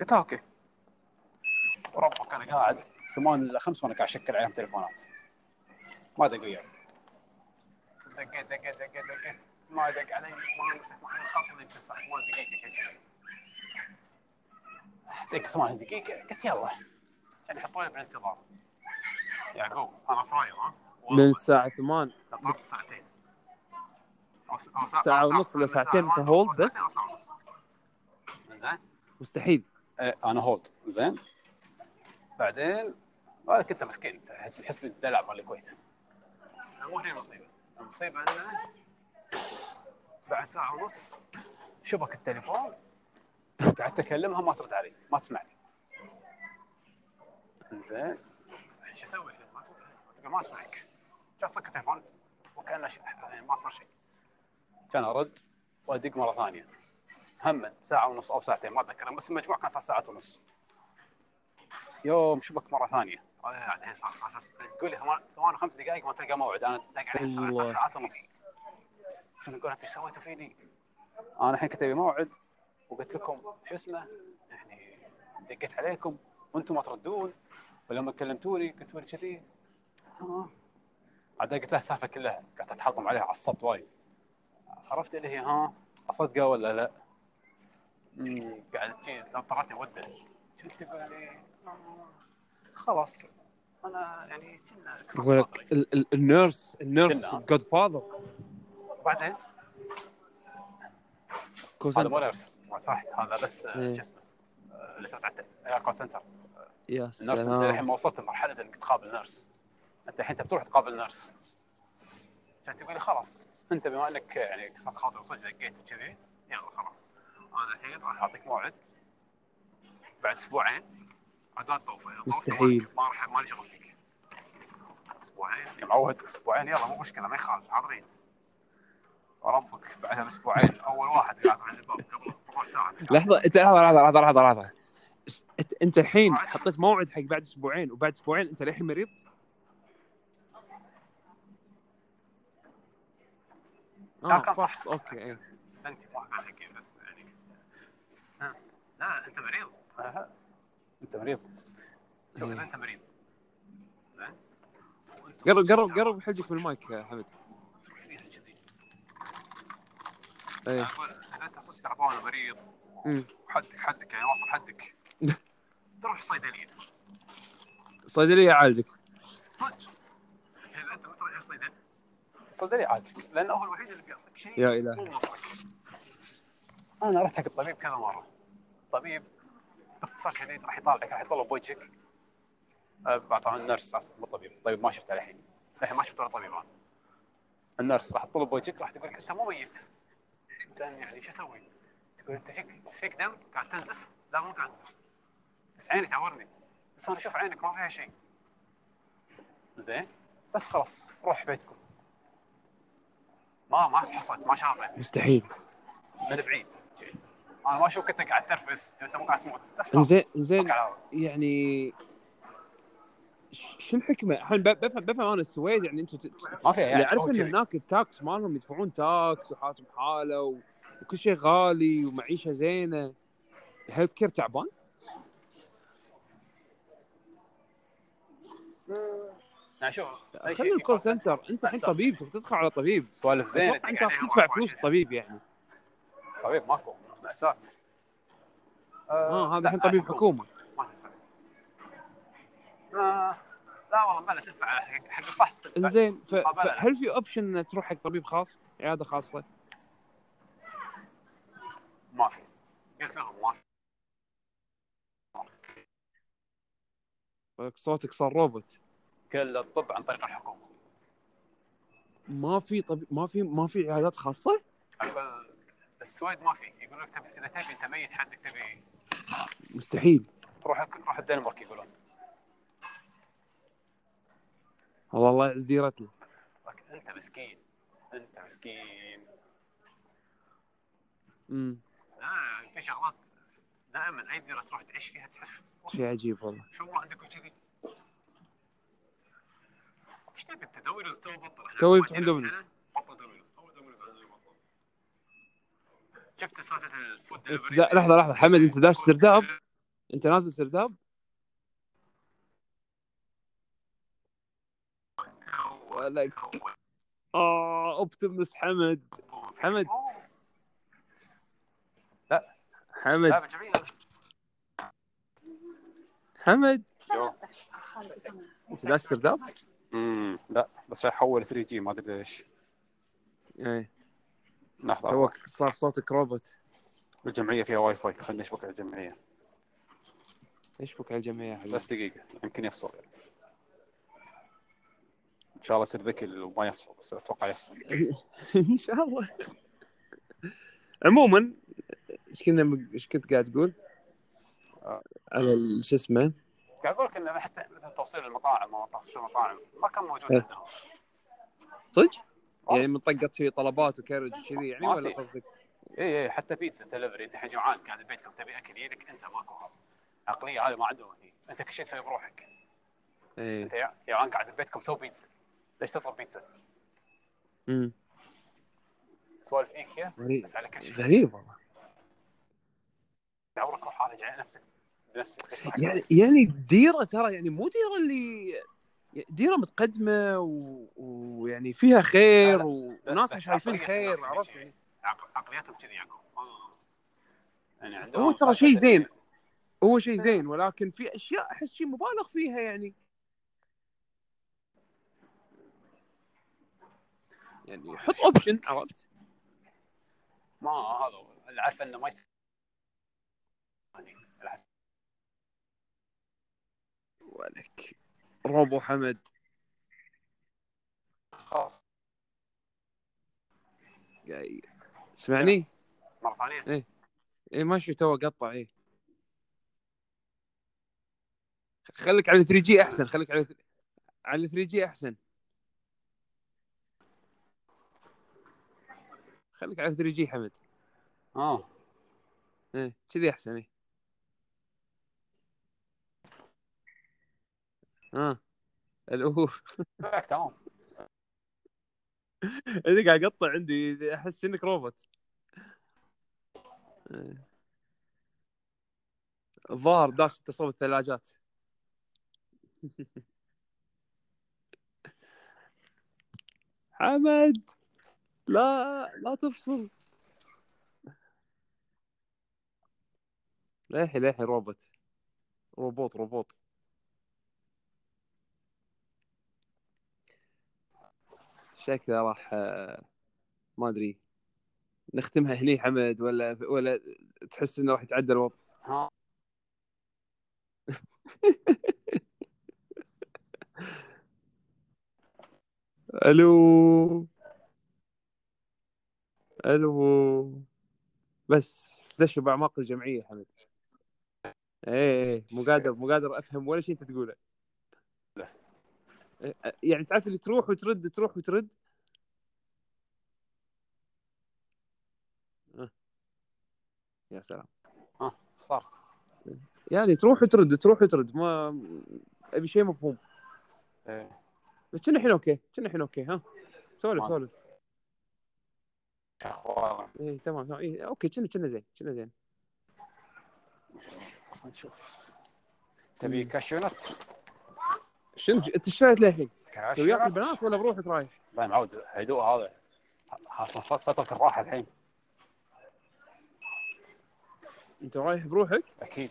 قلت لها اوكي وربك انا قاعد ثمان الى خمس وانا قاعد اشكل عليهم تليفونات ما دق وياي دقيت دقيت دقيت دقيت ما دق علي ما مسك معي خاطر يمكن صح ثمان دقيقه شيء كذي دق ثمان دقيقه قلت يلا كان يحطوني بالانتظار يعقوب انا صايم ها
من
والله
الساعه 8
نطرت ساعتين أو س- أو
ساعة
أو
ونص إلى
من ساعة
ساعتين أنت
ونص-
هولد
أو
بس؟
ساعتين أو ساعة ونص. زين
مستحيل
إيه، انا هولد زين بعدين انا كنت مسكين حسب حسب الدلع مال الكويت مو هنا المصيبه المصيبه انه بعد ساعه ونص شبك التليفون قعدت اكلمها ما ترد علي ما تسمعني زين ايش اسوي؟ ما ترد علي. تقول ما اسمعك جات صك التليفون وكانه ش- يعني ما صار شيء كان ارد وادق مره ثانيه هم ساعة ونص أو ساعتين ما أتذكر بس المجموع كان ثلاث ساعات ونص يوم شبك مرة ثانية أنا قاعد الحين آه، صار صار- صار- تقول لي ثمان- ثمان وخمس دقائق ما تلقى موعد أنا دق عليه الساعة
الله.
ثلاث ساعات ونص شنو أقول أنتم ايش سويتوا فيني؟ أنا الحين كنت أبي موعد وقلت لكم شو اسمه يعني دقيت عليكم وأنتم ما تردون ولما كلمتوني قلتوا لي كذي آه. عاد قلت لها السالفة كلها قعدت أتحطم عليها عصبت وايد عرفت اللي هي ها أصدقه ولا لا؟ مم، قاعد تجي نظرتني وده كنت تقول لي آه، خلاص انا يعني كنا كسرت
يقول
صدري
لك ال- ال- النيرس النيرس
كنا.
جود فاذر
وبعدين هذا مو نيرس ما صحت هذا بس آه،
إيه.
شو اسمه آه، اللي تتعدى كول سنتر
يا
النيرس انت الحين
سلام
ما وصلت لمرحله انك تقابل نيرس انت الحين انت بتروح تقابل نيرس كانت تقول لي خلاص انت بما انك يعني كسرت خاطري وصدق دقيت وكذي يلا خلاص انا الحين راح اعطيك موعد بعد اسبوعين عاد لا تطوف إذا طوفت
مستحيل.
ما راح ما لي شغل فيك اسبوعين يا معودك اسبوعين يلا مو مشكله ما يخالف حاضرين وربك بعدها باسبوعين اول واحد قاعد عند الباب قبل ربع ساعه
لحظه انت لحظه لحظه لحظه لحظه لحظه انت انت الحين حطيت موعد حق بعد اسبوعين وبعد اسبوعين انت للحين مريض
لا، كان
آه،
فحص.
اوكي إيه.
انت ما عليك بس يعني ها. لا انت مريض
أها. انت مريض
شوف اذا
إيه.
انت مريض زين وأنت
قرب
صرت
قرب
تعبان،
قرب حجك بالمايك يا حمد
تروح فيها كذي
ايه إيه.
أنا أقول إذا انت صرت تعبان ومريض
أمم.
وحدك حدك يعني واصل حدك تروح صيدليه
صيدليه عالجك
صدق اذا انت ما تروح صيدليه
صدقني عادك
لانه هو الوحيد اللي بيعطيك شيء
يا إلهي.
مو مطلق
انا رحت حق الطبيب
الطبيب كذا مره الطبيب باختصار شديد راح يطالعك راح يطلع بوجهك
أه، طبعا النيرس اسف مو الطبيب الطبيب ما شفته الحين
الحين إيه، ما شفت ولا طبيب أنا.
النيرس راح تطلب وجهك
وجهك راح تقول لك انت مو ميت انسان يعني شو اسوي؟ تقول انت فيك فيك دم قاعد تنزف؟ لا مو قاعد انزف بس عيني تعورني بس انا اشوف عينك ما فيها شيء زين بس خلاص روح بيتكم ما ما فحصت ما شافت
مستحيل
من بعيد انا ما اشوفك انت قاعد ترفس انت مو قاعد تموت بس خلاص
انزين انزين
فك على هذا.
يعني ش- شو الحكمه؟ الحين ب- بفهم بفهم انا السويد يعني انتم ت-
ما فيها
يعني
يعني
اعرف
هو
ان
كذي.
هناك التاكس مالهم يدفعون تاكس وحالتهم حاله و... وكل شيء غالي ومعيشه زينه الهيلث كير تعبان
يعني شوف أي شيء
خلي
في
الكول
cost center.
سنتر انت الحين
أحسن.
طبيب تبي تدخل على طبيب
سوالف زينه
اتوقع
دق
انت
عليها.
راح تدفع فلوس طبيب يعني
طبيب ماكو مأساة
اه هذا
لا،
الحين طبيب حكومه
ما تنفع. آه، لا والله بلا تنفع على حق حق الفحص تنفع.
انزين ف...
مقابلة.
فهل في اوبشن ان تروح حق طبيب خاص عياده خاصه؟
ما في قلت لهم ما في
ولك صوتك صار روبوت
كل الطب عن طريق الحكومه
ما في طبيب ما في ما في عيادات خاصه؟
اقول السويد ما في يقول لك تبي اذا تبي انت ميت حدك تبي
مستحيل
روح روح الدنمارك يقولون
والله الله يعز ديرتنا
لك انت مسكين
انت مسكين
امم
لا في شغلات دائما اي ديره تروح تعيش فيها تحس
شيء عجيب والله
شو ما عندكم كذي ايش تبي انت دومينوز تو بطل احنا
تو يفتحون
مواجهين
دومينوز.
بسنة، بطل دومينوز اول دومينوز عندنا بطل شفت سالفه الفود
أنت
دليفري
دا... لحظه لحظه حمد انت داش سرداب انت نازل سرداب؟ ولك اه اوبتيموس حمد حمد.
أوه،
حمد
لا بالجميع
حمد
شو
انت داش سرداب؟
امم لا بس راح يحول 3 جي ما ادري ليش
ايه
طيب.
لحظه
توك صار صوتك روبوت
الجمعيه فيها واي فاي خلينا نشبك على الجمعيه
ايش بك على الجميع يا حبيبي؟
بس دقيقه يمكن يفصل ان شاء الله يصير ذكي وما يفصل بس اتوقع يفصل
ان شاء الله عموما ايش كنا ايش كنت قاعد تقول؟
آه.
على ال- شو اسمه؟
قاعد اقول لك انه حتى مثلا توصيل المطاعم او توصيل المطاعم ما كان موجود
إيه.
عندهم
صدق؟
آه.
يعني من طقت شي طلبات وكارج وكذي يعني
ما
ولا
في.
قصدك؟
إيه،
اي اي حتى بيتزا دليفري انت الحين جوعان قاعد ببيتكم تبي اكل يجيك انسى ماكو هذا
عقليه هذه ما عندهم هني انت كل شيء تسويه بروحك
ايه
انت يا يا عان قاعد ببيتكم سوي بيتزا ليش تطلب بيتزا؟
امم
سوالف ايكيا
غريب
بس على كل شيء
غريب والله
دورك روح هذا جاي نفسك بنفسك ليش تضحك؟
يعني يعني ديره ترى يعني مو ديره اللي ديره متقدمه و- ويعني فيها خير و- وناس
بس
شايفين
عقلية
خير
الناس اللي
عرفت
جاي.
يعني
عق- عقليتهم كذي يعقوب آه.
يعني عندهم
هو ترى شيء زين هو شيء زين ولكن في اشياء احس شيء مبالغ فيها يعني يعني حط اوبشن عرفت
ما هذا هو. اللي عارف انه ما يصير يعني على حسب-
ولك روبو حمد
خلاص
قاي تسمعني؟
مره ثانيه
اي ماشي تو قطع إيه. اي خليك على 3 جي احسن خليك على على 3 جي احسن خليك على 3 جي حمد
اه
ايه كذي احسن ايه اه الأوه
لا، تمام
انت إيه، قاعد اقطع عندي احس انك روبوت إيه. الظاهر داش تصوب الثلاجات حمد لا لا تفصل ليحي ليحي روبوت روبوت روبوت شكله راح آه، ما ادري نختمها هني حمد ولا ولا تحس انه راح يتعدى الوضع
ها
الو الو بس دشوا باعماق الجمعيه حمد ايه ايه مو قادر مو قادر افهم ولا شيء انت تقوله إيه، أ- يعني تعرف اللي تروح وترد تروح وترد آه. يا سلام
صار
يعني تروح وترد تروح وترد ما ابي شيء مفهوم
إيه.
بس كنا الحين اوكي كنا الحين اوكي ها سولف
آه.
سولف
اخبار
ايه تمام تمام إيه اوكي كنا كنا زين كنا زين
خلنا نشوف تبي كاشونات
شنو انت اشتريت للحين؟ أنت وياك
كاشونات
البنات ولا بروحك رايح؟
لا معود هدوء هذا خلاص فترة الراحة الحين
انت رايح بروحك؟
اكيد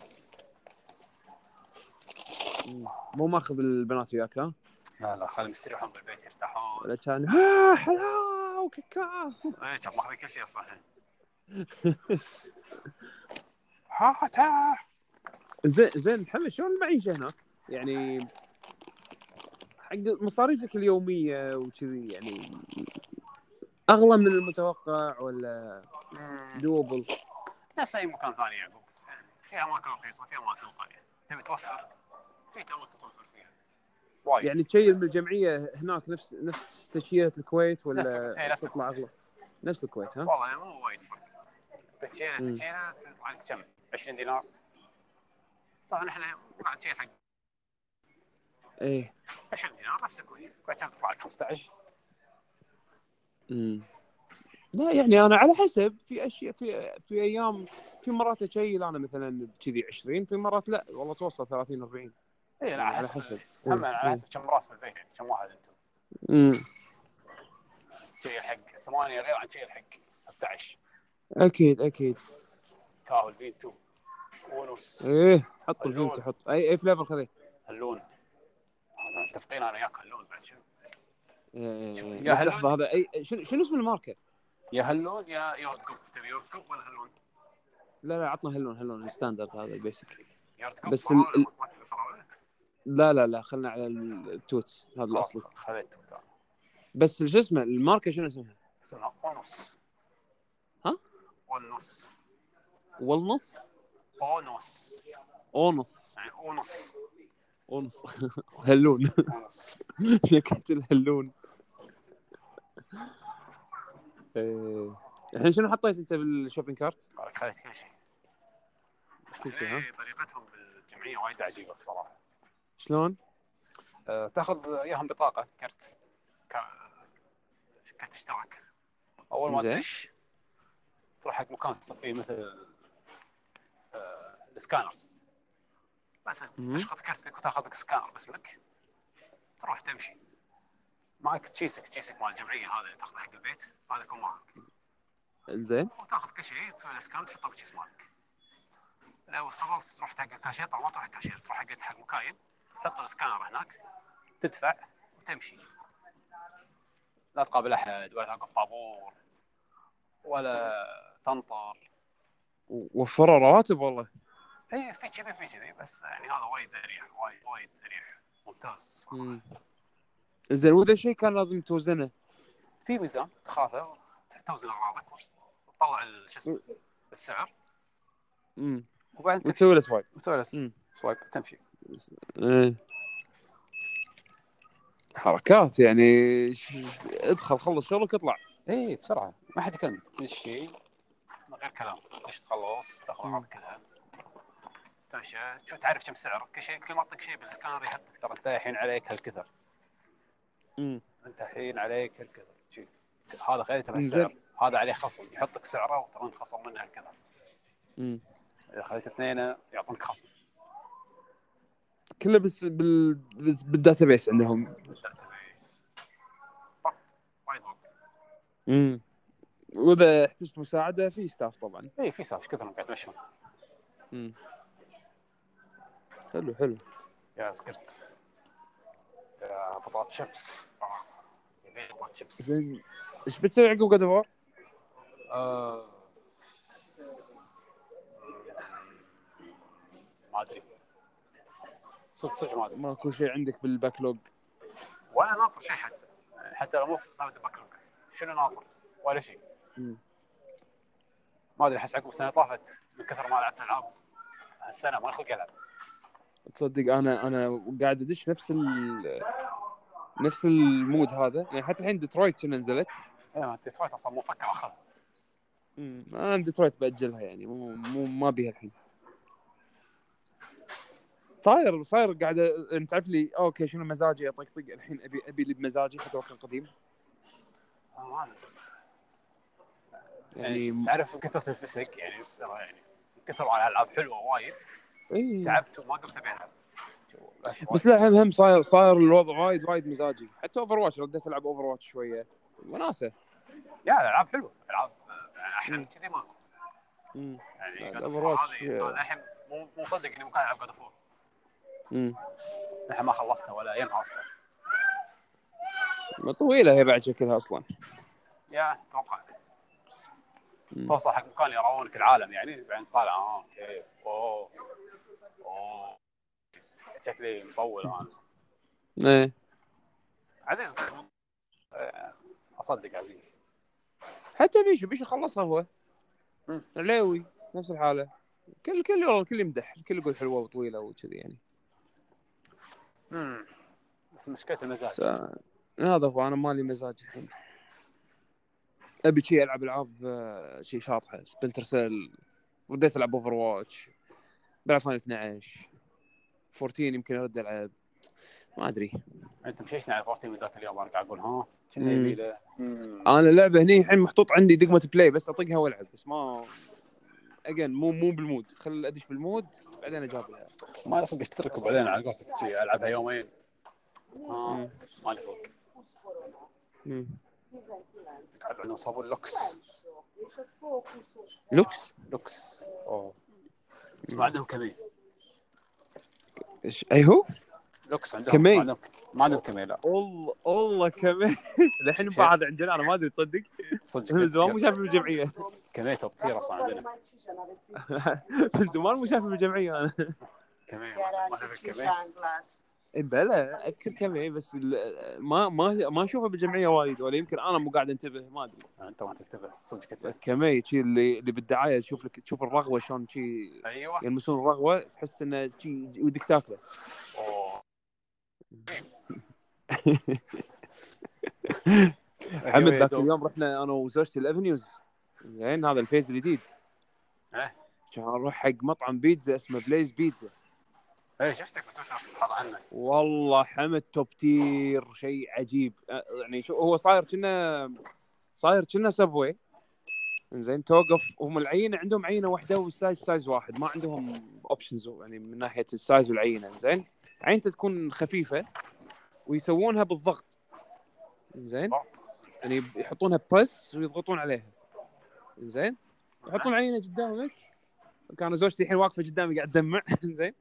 مو ماخذ البنات وياك ها؟
لا لا خليهم يستريحون بالبيت يرتاحون إيه،
ولا كان ها حلاو كاكا
ايه كان ماخذ كل شيء صح
ها تا
زين زين محمد شلون المعيشه هناك؟ يعني حق مصاريفك اليوميه وكذي يعني اغلى من المتوقع ولا دوبل؟
نفس اي مكان ثاني يعقوب يعني في اماكن رخيصه في اماكن غاليه تبي توفر في اماكن توفر فيها
وايد
يعني تشيل من الجمعيه هناك نفس نفس تشيله الكويت
نفس- إيه،
ولا
نفس
تطلع اغلى؟ نفس الكويت ها؟
والله يعني مو وايد فرق
مم.
تشيله تشيله تطلع لك كم 20 دينار طبعا احنا ما قاعد تشيل حق
ايه
20 دينار نفس الكويت الكويت كم تطلع لك 15
امم لا يعني انا على حسب في اشياء في في ايام في مرات اشيل انا مثلا كذي 20 في مرات لا والله توصل 30 40
اي لا
على
على حسب
حسب. إيه.
هم على حسب كم راس بالبيت يعني كم واحد انتم
امم
تشيل حق ثمانية غير عن تشيل حق 11
اكيد اكيد
كاهو الفينتو ونص
ايه حط الفينتو حط اي اي فليفر خذيت
هلون هذا متفقين انا وياك هلون بعد شنو
إيه،
شو-
إيه.
يا
بس
هلا.
لحظه هذا اي شنو شنو اسم الماركه؟
يا هلون
يا يوركوب تبي يوركوب ولا هلون؟
لا لا عطنا هلون هلون الستاندرد هذا البيسك
يوركوب
بس
فراولة،
ال-
ما تبي فراوله
لا لا لا خلنا على التوت هذا الاصلي
خذيته ترى.
بس شو اسمه الماركه شنو اسمها؟
سنة ونص
ها؟
ونص
والنص
ونص
اونص
يعني ونص
اونص هلون
ونص
نكهة الهلون إيه. الحين شنو حطيت انت بالشوبينج كارت؟
قالك خذيت كل شيء
كل شيء ها؟
إيه، طريقتهم بالجمعيه وايد
وايد عجيبة الصراحة
شلون؟
آه،
أه تاخذ وياهم بطاقة كرت
كا- كرت اشتراك
اول ما
زين.
تدش تروح حق مكان فيه مثل أه السكانرز
آه، بس
مم.
تشخط كرتك وتاخذ لك سكانر باسمك تروح تمشي
معك
تشيسك تشيسك مال الجمعيه هذا اللي تاخذه حق البيت هذا يكون معك
زين
وتاخذ كل شيء تسوي له سكان تحطه بالكيس مالك لو خلاص تروح حق الكاشير طبعا ما تروح حق الكاشير تروح حق حق مكاين تحط السكانر هناك تدفع وتمشي
لا تقابل احد ولا توقف طابور ولا تنطر
وفروا رواتب والله
اي إيه، في كذي في كذي بس يعني هذا وايد اريح وايد وايد اريح ممتاز
زين واذا شيء كان لازم توزنه
في ميزان
تخافه توزن اغراضك وتطلع ال- شو اسمه السعر
مم.
وبعدين تمشي
وتسوي له سوايب
وتسوي له
مم.
سوايب تمشي
إيه. حركات يعني ش- ادخل خلص شغلك اطلع
اي بسرعة
ما حد يكلمك
تمشي من غير كلام ليش تخلص تاخذ
مم.
اغراضك كلها تمشي شو تعرف كم سعر كل شيء كل ما اعطيك شيء بالسكانر يحطك ترى انت الحين عليك هالكثر
مم.
انت الحين عليك هالكثر شي. هذا خليته
إنزين.
بالسعر هذا عليه خصم يحطك سعره وترى انخصم منه هالكثر
مم.
اذا خليت اثنين يعطونك خصم
كله بس بال... بس بالداتابيس عندهم
داتابيس. وقت وايد وقت
امم واذا احتجت مساعده في ستاف طبعا
اي في سالفه كثر من قاعد تمشون
امم حلو حلو
يا سكرت يا بطاط شيبس آه. يبي بطاط شيبس
زين ايش بتسوي عقب جود اوف
آه. ما ادري صدق صدق ما ادري
ماكو شيء عندك بالباكلوج
ولا ناطر شيء حتى حتى لو مو في صامت البكرك شنو ناطر ولا شيء
مم.
ما ادري احس عقب السنه طافت من كثر ما لعبت العاب هالسنه ما خلق العب
تصدق انا انا قاعد ادش نفس ال نفس المود هذا يعني حتى الحين ديترويت شنو نزلت
إيه، ديترويت اصلا مو فكر اخذها
امم انا ديترويت باجلها يعني مو مو ما بيها الحين صاير صاير قاعد أ- انت تعرف لي اوكي شنو مزاجي اطقطق الحين ابي ابي اللي بمزاجي حتى لو كان قديم
آه، ما أدري. يعني
يعني
تعرف من كثره الفسق يعني ترى يعني من كثر ما الالعاب حلوه وايد
إيه.
تعبت وما قمت ابي العب
بس لا هم هم صاير صاير الوضع وايد وايد مزاجي حتى اوفر واتش رديت العب اوفر واتش شويه وناسه
يا الالعاب حلوه العاب آه، احلى من كذي ماكو يعني
بعد
God of War
Overwatch،
هذه انا الحين مو مو مصدق اني ممكن العب جود اوف
امم
الحين ما خلصتها ولا يمها اصلا
طويله هي بعد شكلها اصلا
يا اتوقع
مم.
توصل حق مكان يراونك العالم يعني بعدين طالع اه اوكي اوه اوه شكلي مطول انا
ايه
عزيز آه، اصدق عزيز
حتى بيشو بيشو خلصها هو
مم.
علاوي نفس الحاله كل كل والله الكل يمدح الكل يقول حلوه وطويله وكذي يعني
مم. بس مشكله
بس،
المزاج
آه، هذا هو انا مالي مزاج الحين ابي شي العب العاب آه، شي شاطحه سبنتر سيل رديت العب اوفر واتش بلعب فاينل 12 14 يمكن ارد العب ما ادري
انت مشيشنا على فورتي من ذاك اليوم انا قاعد اقول ها كنا
مم.
يبي له
انا اللعبه هني الحين محطوط عندي دقمه بلاي بس اطقها والعب بس ما اجين مو مو بالمود خل ادش بالمود بعدين اجاب لها
ما لفق اشترك وبعدين على قولتك شي العبها يومين
مم.
آه، ما لفق
مم.
قاعد عندهم صابون لوكس
لوكس
لوكس اوه ما عندهم كمين
ايش اي هو؟
لوكس عندهم
كمين.
ما عندهم ما عندهم كمين لا
والله والله كمان الحين
شيء.
بعد عندنا انا ما ادري تصدق
صدق
من زمان مو
كم-
شايف بالجمعيه
كمين توب تير اصلا عندنا
من زمان مو شايف بالجمعيه انا
كمين ما
Era
تبي كمين
artificial glass.
إيه، بلا اذكر كمان بس ال- ما ما ما اشوفه بالجمعيه وايد ولا يمكن انا مو قاعد انتبه ما ادري
انت آه، ما تنتبه صدق كنت
كمان شي اللي اللي بالدعايه تشوف لك تشوف الرغوه شلون شي
ايوه
يلمسون الرغوه تحس انه شي ودك تاكله
أيوة، أوه.
حمد
أيوة يا
ذاك
دوب.
اليوم رحنا انا وزوجتي الافنيوز زين هذا الفيز الجديد
إيه.
كان نروح حق مطعم بيتزا اسمه بليز بيتزا
ايه شفتك بتويتر حاط عنك
والله حمد توب تير شيء عجيب أه، يعني شو هو صاير كنا صاير كنا سبوي زين توقف هم العينه عندهم عينه واحده والسايز سايز واحد ما عندهم اوبشنز يعني من ناحيه السايز والعينه زين عينته تكون خفيفه ويسوونها بالضغط زين يعني يحطونها بريس ويضغطون عليها زين يحطون عينه قدامك كان زوجتي الحين واقفه قدامي قاعد تدمع زين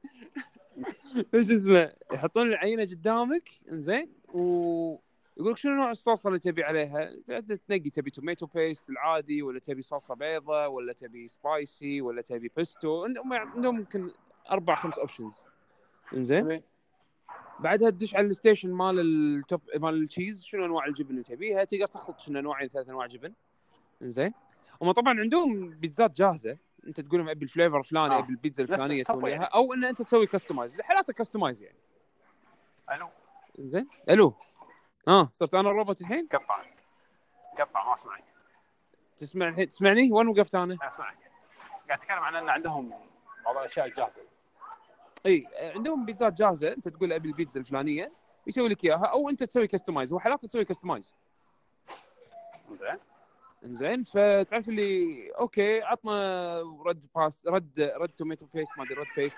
ايش اسمه يحطون العينه قدامك زين ويقول لك شنو نوع الصلصه اللي تبي عليها تعد تنقي تبي توميتو بيست العادي ولا تبي صلصه بيضة ولا تبي سبايسي ولا تبي بيستو عندهم يعني عندهم يمكن اربع خمس اوبشنز زين بعدها تدش على الستيشن مال التوب مال التشيز شنو انواع الجبن اللي تبيها تقدر تخلط شنو نوعين ثلاث انواع جبن زين هم طبعا عندهم بيتزات جاهزه انت تقول لهم ابي الفليفر الفلاني
آه.
ابي البيتزا
نفس
الفلانيه
الصفوة
تسويها
يعني.
او ان انت تسوي كستمايز حالاتك كستمايز يعني
الو
زين آه، الو اه صرت انا الروبوت الحين
قطع قطع ما اسمعك
تسمع الحين تسمعني وين وقفت انا؟
انا اسمعك قاعد اتكلم عن ان عندهم بعض الاشياء الجاهزه
اي عندهم بيتزات جاهزه انت تقول ابي البيتزا الفلانيه يسوي لك اياها او انت تسوي كستمايز وحالات تسوي كستمايز
زين
زين فتعرف اللي اوكي عطنا رد باس رد رد توميتو بيست ما ادري رد بيست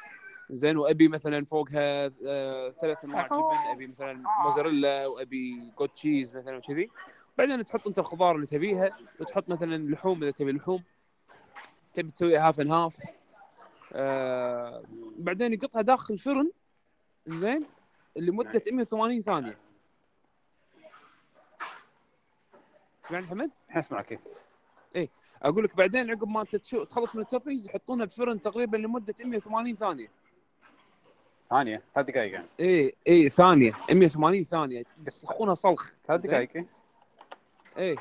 زين وابي مثلا فوقها آه، ثلاث انواع جبن ابي مثلا موزاريلا وابي جوت تشيز مثلا وكذي بعدين تحط انت الخضار اللي تبيها وتحط مثلا لحوم اذا تبي لحوم تبي تسوي هاف ان هاف آه بعدين يقطها داخل الفرن زين لمده 180 ثانيه سمعني حمد؟
الحين اسمعك
اقول لك بعدين عقب ما انت تشو- تخلص من التوبينجز يحطونها بفرن تقريبا لمده 180 ثانيه
ثانيه ثلاث دقائق يعني
اي اي ثانيه 180 ثانيه يصلخونها صلخ
ثلاث
زين؟
دقائق
اي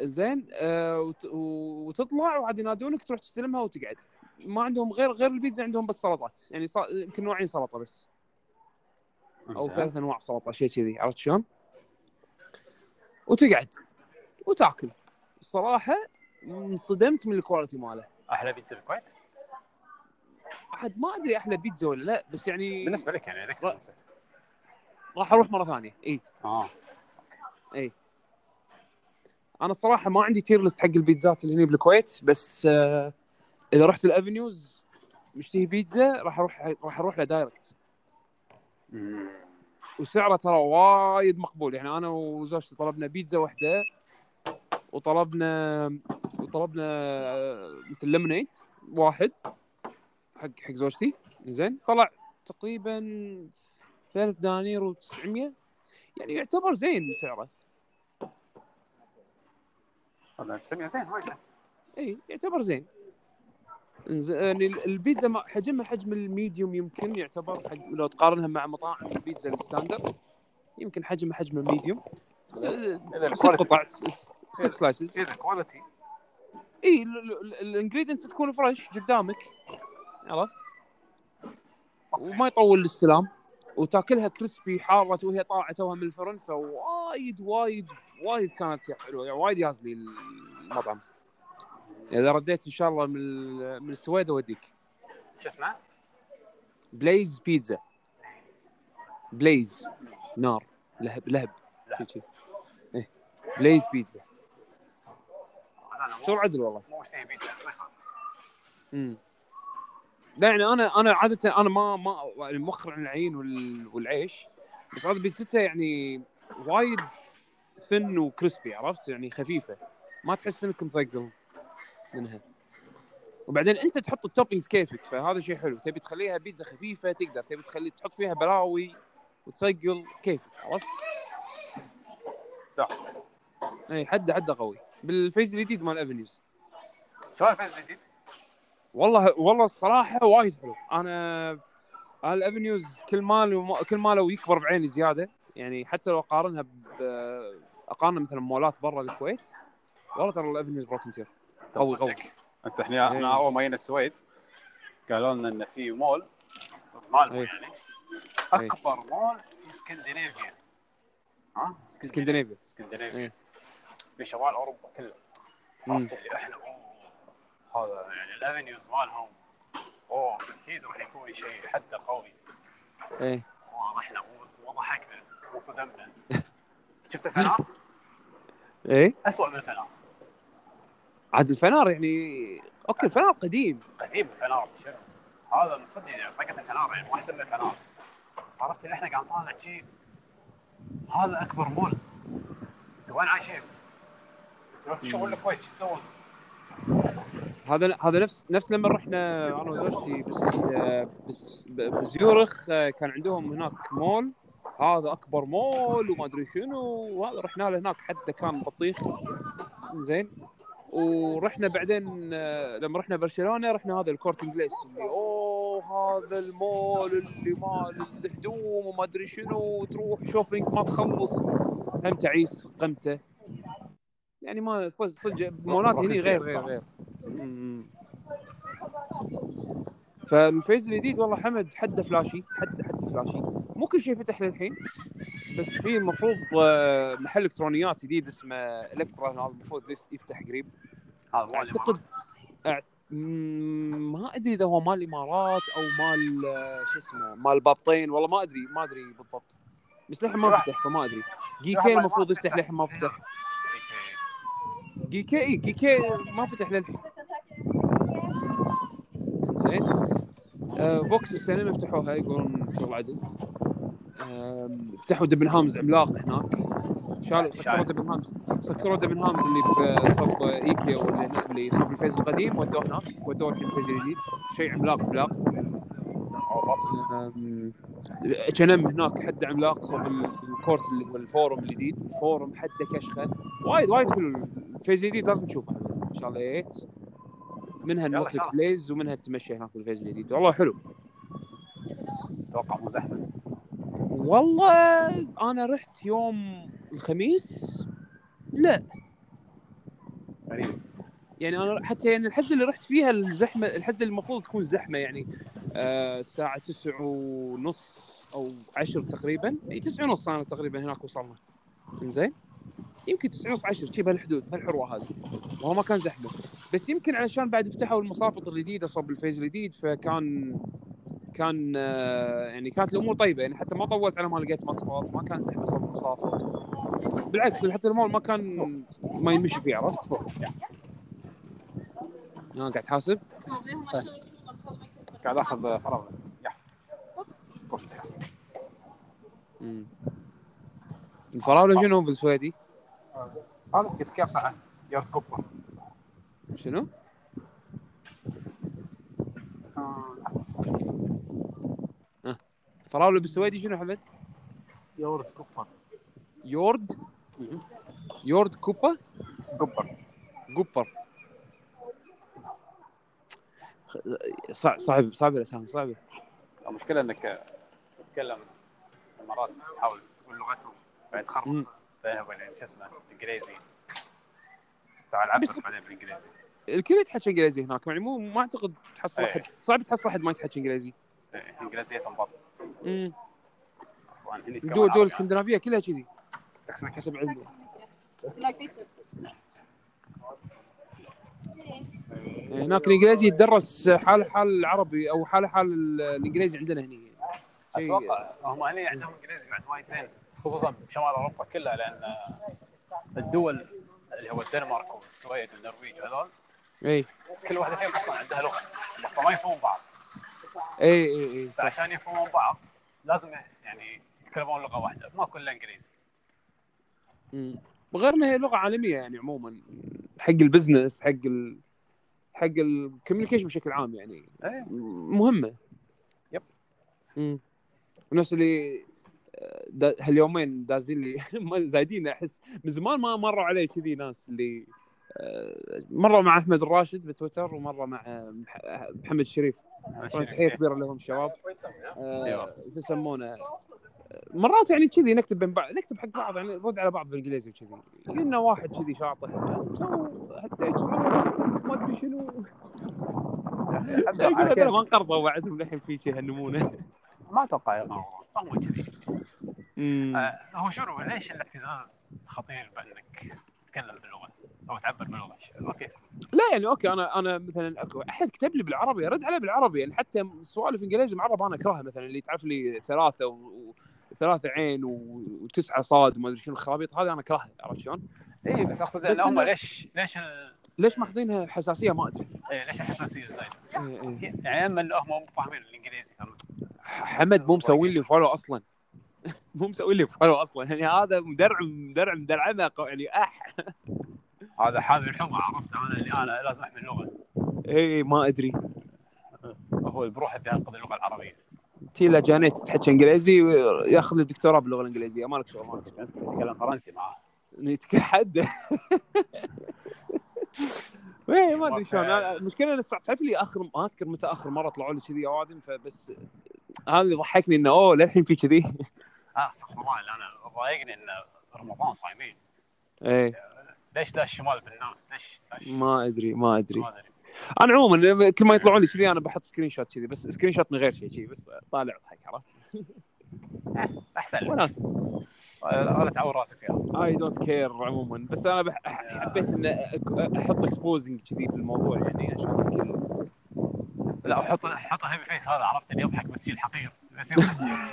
زين آه وت- و- وتطلع وعاد ينادونك تروح تستلمها وتقعد ما عندهم غير غير البيتزا عندهم بس سلطات يعني ص- يمكن نوعين سلطه بس او
زين.
ثلاث انواع سلطه شيء كذي عرفت شلون؟ وتقعد وتاكل الصراحه انصدمت من الكواليتي ماله
احلى بيتزا بالكويت
عاد ما ادري احلى بيتزا ولا لا بس يعني
بالنسبه لك يعني لك
لا.
انت
راح اروح مره ثانيه اي
اه
انا الصراحه ما عندي تير ليست حق البيتزات اللي هنا بالكويت بس آه اذا رحت الافنيوز مشتهي بيتزا راح اروح راح اروح له دايركت
أمم.
وسعره ترى وايد مقبول يعني انا وزوجتي طلبنا بيتزا واحده وطلبنا وطلبنا آه، مثل ليمونيد واحد حق حق زوجتي زين طلع تقريبا ثلاث دنانير و900 يعني يعتبر زين سعره
والله تسميها زين وايد زين
اي إيه، يعتبر زين إنز- يعني ال- البيتزا ما- حجمها حجم الميديوم يمكن يعتبر حج... لو تقارنها مع مطاعم البيتزا الستاندرد يمكن حجمها حجم الميديوم س-
إذا
ست
الكواليتي
قطع س- س- ست سلايسز
اذا كواليتي
اي الانجريدينتس تكون فريش قدامك عرفت وما يطول الاستلام وتاكلها كريسبي حاره وهي طالعه توها من الفرن فوايد وايد وايد كانت حلوه يعني وايد ياز لي المطعم اذا رديت ان شاء الله من ال- من السويد اوديك
شو اسمه؟
بليز بيتزا بليز نار لهب لهب
لهب.
شي. إيه. بليز بيتزا
لا لا
شو
مو
عدل والله
مو مشتهي بيتزا بس ما يخالف
امم لا يعني انا انا عاده انا ما ما يعني موخر عن العين وال- والعيش بس هذا بيتزته يعني وايد ثن وكريسبي عرفت يعني خفيفه ما تحس انك مثقل منها وبعدين انت تحط التوبينجز كيفك فهذا شيء حلو تبي تخليها بيتزا خفيفه تقدر تبي تخلي تحط فيها بلاوي وتثقل كيفك عرفت؟
لا.
اي حد حد إيه، قوي بالفيز الجديد مال افنيوز
شو الفيز الجديد؟
والله والله الصراحه وايد حلو انا الافنيوز كل ما كل ما لو يكبر بعيني زياده يعني حتى لو اقارنها ب اقارنها مثلا مولات برا الكويت والله ترى الافنيوز بروكن تير قوي قوي
صدق. انت احنا احنا
إيه.
اول ما جينا السويد قالوا لنا ان في مول مالمو
إيه.
يعني اكبر مول في اسكندنافيا آه؟ ها
اسكندنافيا
اسكندنافيا
إيه.
في شمال اوروبا كله
مم.
عرفت اللي احنا اوه هذا يعني الافنيوز مالهم اوه اكيد راح يكون شيء حده قوي
ايه
والله احنا مو- وضحكنا وانصدمنا شفت الفنار؟
ايه
اسوء من الفنار
عاد الفنار يعني اوكي الفنار قديم
قديم الفنار شنو؟ هذا من صدق يعني طاقه الفنار يعني مو احسن من الفنار عرفت اللي احنا قاعد نطالع شيء هذا اكبر مول انتوا وين عايشين؟ رحت شغل الكويت شو تسوون؟
هذا هذا نفس نفس لما رحنا انا وزوجتي بس بس بزيورخ كان عندهم هناك مول هذا اكبر مول وما ادري شنو وهذا رحنا له هناك حتى كان بطيخ زين ورحنا بعدين آه، لما رحنا برشلونه رحنا هذا الكورتنج بليس اللي اوه هذا المول اللي مال الهدوم وما ادري شنو وتروح شوبينج ما تخلص هم تعيس قمته يعني ما صدق مولات هني غير غير غير مم. فالفيز الجديد والله حمد حده فلاشي حده حده فلاشي مو كل شيء فتح للحين بس في المفروض آه، محل الكترونيات جديد اسمه الكترا هذا المفروض يف- يفتح قريب
هذا مو
أعتقد-
الإمارات.
مم، ما ادري اذا هو مال الامارات او مال آه، شو اسمه مال بابطين والله ما ادري ما ادري بالضبط بس للحين ما فتح فما ادري جي كي المفروض يفتح للحين ما فتح جي كي إي، جي كي ما فتح للحين زين آه، فوكس السينما فتحوها يقولون شغل عدل آم، فتحوا دبن هامز عملاق هناك شالوا سكروا دبن هامز سكروا دبن هامز اللي بصب ايكيا واللي هنا- اللي صب الفيز القديم ودوه هناك ودوه الحين الفيز الجديد شيء عملاق عملاق
إيه،
أم، اتش ان ام هناك حد عملاق صوب ال- الكورت اللي هو الفورم الجديد الفورم حده كشخه وايد وايد حلو الفيز الجديد لازم تشوفه ان شاء الله يا ريت منها
يلا إن
النوت
شاء الله.
بليز ومنها التمشي هناك بالفيز الجديد والله حلو
اتوقع مو زحمه
والله انا رحت يوم الخميس لا
غريب
يعني انا حتى يعني الحزه اللي رحت فيها الزحمه الحزه اللي المفروض تكون زحمه يعني آه، الساعه 9 ونص او 10 تقريبا اي 9 ونص انا تقريبا هناك وصلنا زين يمكن 9 ونص 10 شي بهالحدود بهالحروه هذه وهو ما كان زحمه بس يمكن علشان بعد فتحوا المصافط الجديده صوب الفيز الجديد فكان كان آه، يعني كانت الامور طيبه يعني حتى ما طولت على ما لقيت مصفط ما كان زحمه صوب المصافط بالعكس حتى المول ما كان ما يمشي فيه عرفت؟ ها قاعد تحاسب؟
قاعد اخذ فراغ يا كفته
مم. الفراوله شنو بالسويدي؟
هذا قلت كيف صح يارد كوبر
شنو؟ الفراوله بالسويدي شنو حمد؟
يورد كوبر
يورد يورد كوبا
كوبر
قبر صع- صعب صعب الاسامي صعبه
المشكله انك تتكلم الامارات تحاول تقول لغتهم بعد
مم.
تخرب بينها وبين شو اسمه الانجليزي تعال عبر بعدين بالانجليزي
الكل يتحكى انجليزي هناك يعني مو ما اعتقد تحصل
إيه.
احد صعب تحصل احد ما يتحكى انجليزي
إيه، انجليزيتهم برضه
امم
اصلا هني كمان يعني.
دول دول
عربي.
اسكندنافيه كلها كذي
تحسب كيف
حسب علمي هناك الانجليزي يتدرس حال حال العربي او حال حال ال- الانجليزي عندنا هنا يعني. شيء-
اتوقع هم هني عندهم انجليزي بعد وايد زين خصوصا بشمال اوروبا كلها لان الدول اللي هو الدنمارك والسويد والنرويج هذول
اي
كل واحده فيهم اصلا عندها لغه فما يفهمون بعض
اي اي اي صح
فعشان يفهمون بعض لازم يعني يتكلمون لغه واحده ما كلها انجليزي
مم. غير انها هي لغه عالميه يعني عموما حق البزنس حق ال... حق الكوميونيكيشن بشكل عام يعني
ايه
مهمه
يب.
امم الناس اللي آه، دا هاليومين دازين لي ما- زايدين احس من زمان ما مروا علي كذي ناس اللي آه، مره مع احمد الراشد بتويتر ومره مع آه، مح- محمد الشريف طبعا تحيه كبيره لهم الشباب آه، شو يسمونه مرات يعني كذي نكتب بين بعض نكتب حق بعض يعني نرد على بعض بالانجليزي وكذي لنا واحد كذي شاطح "أنتوا حتى أنتوا ما ادري شنو يقول هذول ما انقرضوا وعدهم للحين في شيء هالنمونه
ما اتوقع هم كذي
آه،
آه، هو شنو ليش الاعتزاز خطير بانك تتكلم باللغه او تعبر باللغه اوكي
لا يعني اوكي انا انا مثلا اكو احد كتب لي بالعربي ارد عليه بالعربي يعني حتى سوالف انجليزي معرب انا اكرهها مثلا اللي تعرف لي ثلاثه و... و... ثلاثة عين و... وتسعة صاد وما ادري شنو الخرابيط هذه انا اكرهها عرفت شلون؟
اي إيه، بس اقصد
بس
ان هم
إنه-
ليش ليش ال...
ليش ماخذينها حساسية ما ادري
إيه، ليش الحساسيه الزايده؟
إيه، إيه.
يعني اما انه هم مو فاهمين يعني الانجليزي هم
حمد مو مسوي لي فولو اصلا مو مسوي لي فولو اصلا يعني هذا مدرعم مدرعم مدرعمه قو- يعني اح
هذا حامل الحمى عرفت انا اللي انا لازم احمل اللغه
اي إيه، ما ادري
هو بروحه بينقذ اللغه العربيه
تيلا جانيت تحكي انجليزي ياخذ الدكتوراه باللغه الانجليزيه مالك شغل مالك شغل
يتكلم فرنسي معاه
نتك- حد ايه ما ادري شلون أنا- المشكله انه تعرف لي اخر ما اذكر متى اخر مره طلعوا لي كذي اوادم فبس هذا اللي ضحكني انه اوه للحين في كذي
اه استغفر الله اللي انا ضايقني ان رمضان صايمين
ايه
ليش داش الشمال بالناس ليش داش
ما ادري ما ادري
ما ادري
انا عموما كل ما يطلعون لي كذي انا بحط سكرين شوت كذي بس سكرين شوت من غير شيء كذي بس طالع اضحك عرفت
احسن لك.
وناس
آه، لا تعور راسك آه، فيها
اي دونت كير عموما بس انا بح... حبيت ان أك- احط اكسبوزنج كذي بالموضوع يعني عشان الكل
لا وحط حط الهيفي فيس هذا عرفت اللي يضحك بس يشيل حقير بس يضحك.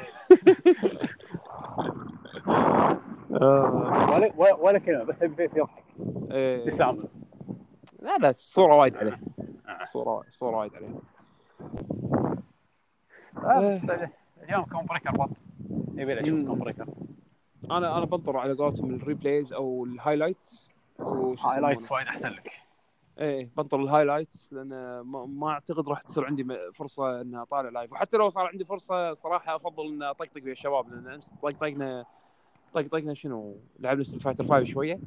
ولا ولا- ولا كلمه بس هيفي فيس يضحك
إيه.
ابتسامه
لا لا الصوره وايد عليه الصوره الصوره وايد عليه
آه، بس اليوم كوم بريكر بط يبي لي اشوف
مم.
كوم بريكر
انا انا بنطر على قولتهم الريبلايز او الهايلايتس وش
هايلايتس وايد احسن لك
ايه بنطر الهايلايتس لان ما, ما اعتقد راح تصير عندي م- فرصه ان اطالع لايف وحتى لو صار عندي فرصه صراحه افضل ان اطقطق ويا الشباب لان امس طقطقنا طقطقنا شنو لعبنا ستريت فايتر 5 شويه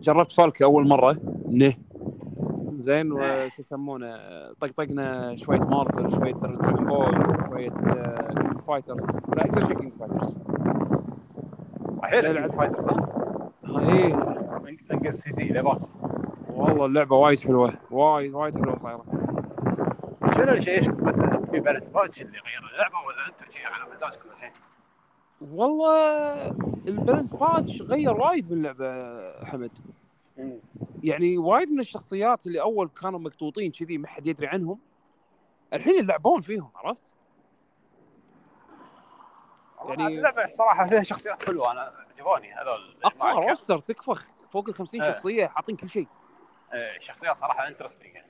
جربت فالك اول مره نه زين وش يسمونه طقطقنا شويه مارفل شويه دراجون بول شويه آه، كينج فايترز لا اكثر شيء كينج فايترز
حلو
يلعب.
يلعب فايتر صح؟
ها، ايه
إيه. انقز سي دي لباس
والله اللعبه وايد حلوه وايد وايد حلوه صايره
شنو الشيء ايش بس في بالانس باتش اللي غير اللعبه ولا انتم شيء على مزاجكم الحين؟
والله البالانس باتش غير وايد من اللعبه حمد يعني وايد من الشخصيات اللي اول كانوا مقطوطين كذي ما حد يدري عنهم الحين يلعبون فيهم عرفت؟
يعني
يعني-
اللعبه الصراحه فيها شخصيات حلوه انا عجبوني هذول
اقوى
معك.
روستر تكفخ فوق ال 50
إيه.
شخصيه حاطين كل شيء
إيه، شخصيات يعني. صراحه انترستنج
اي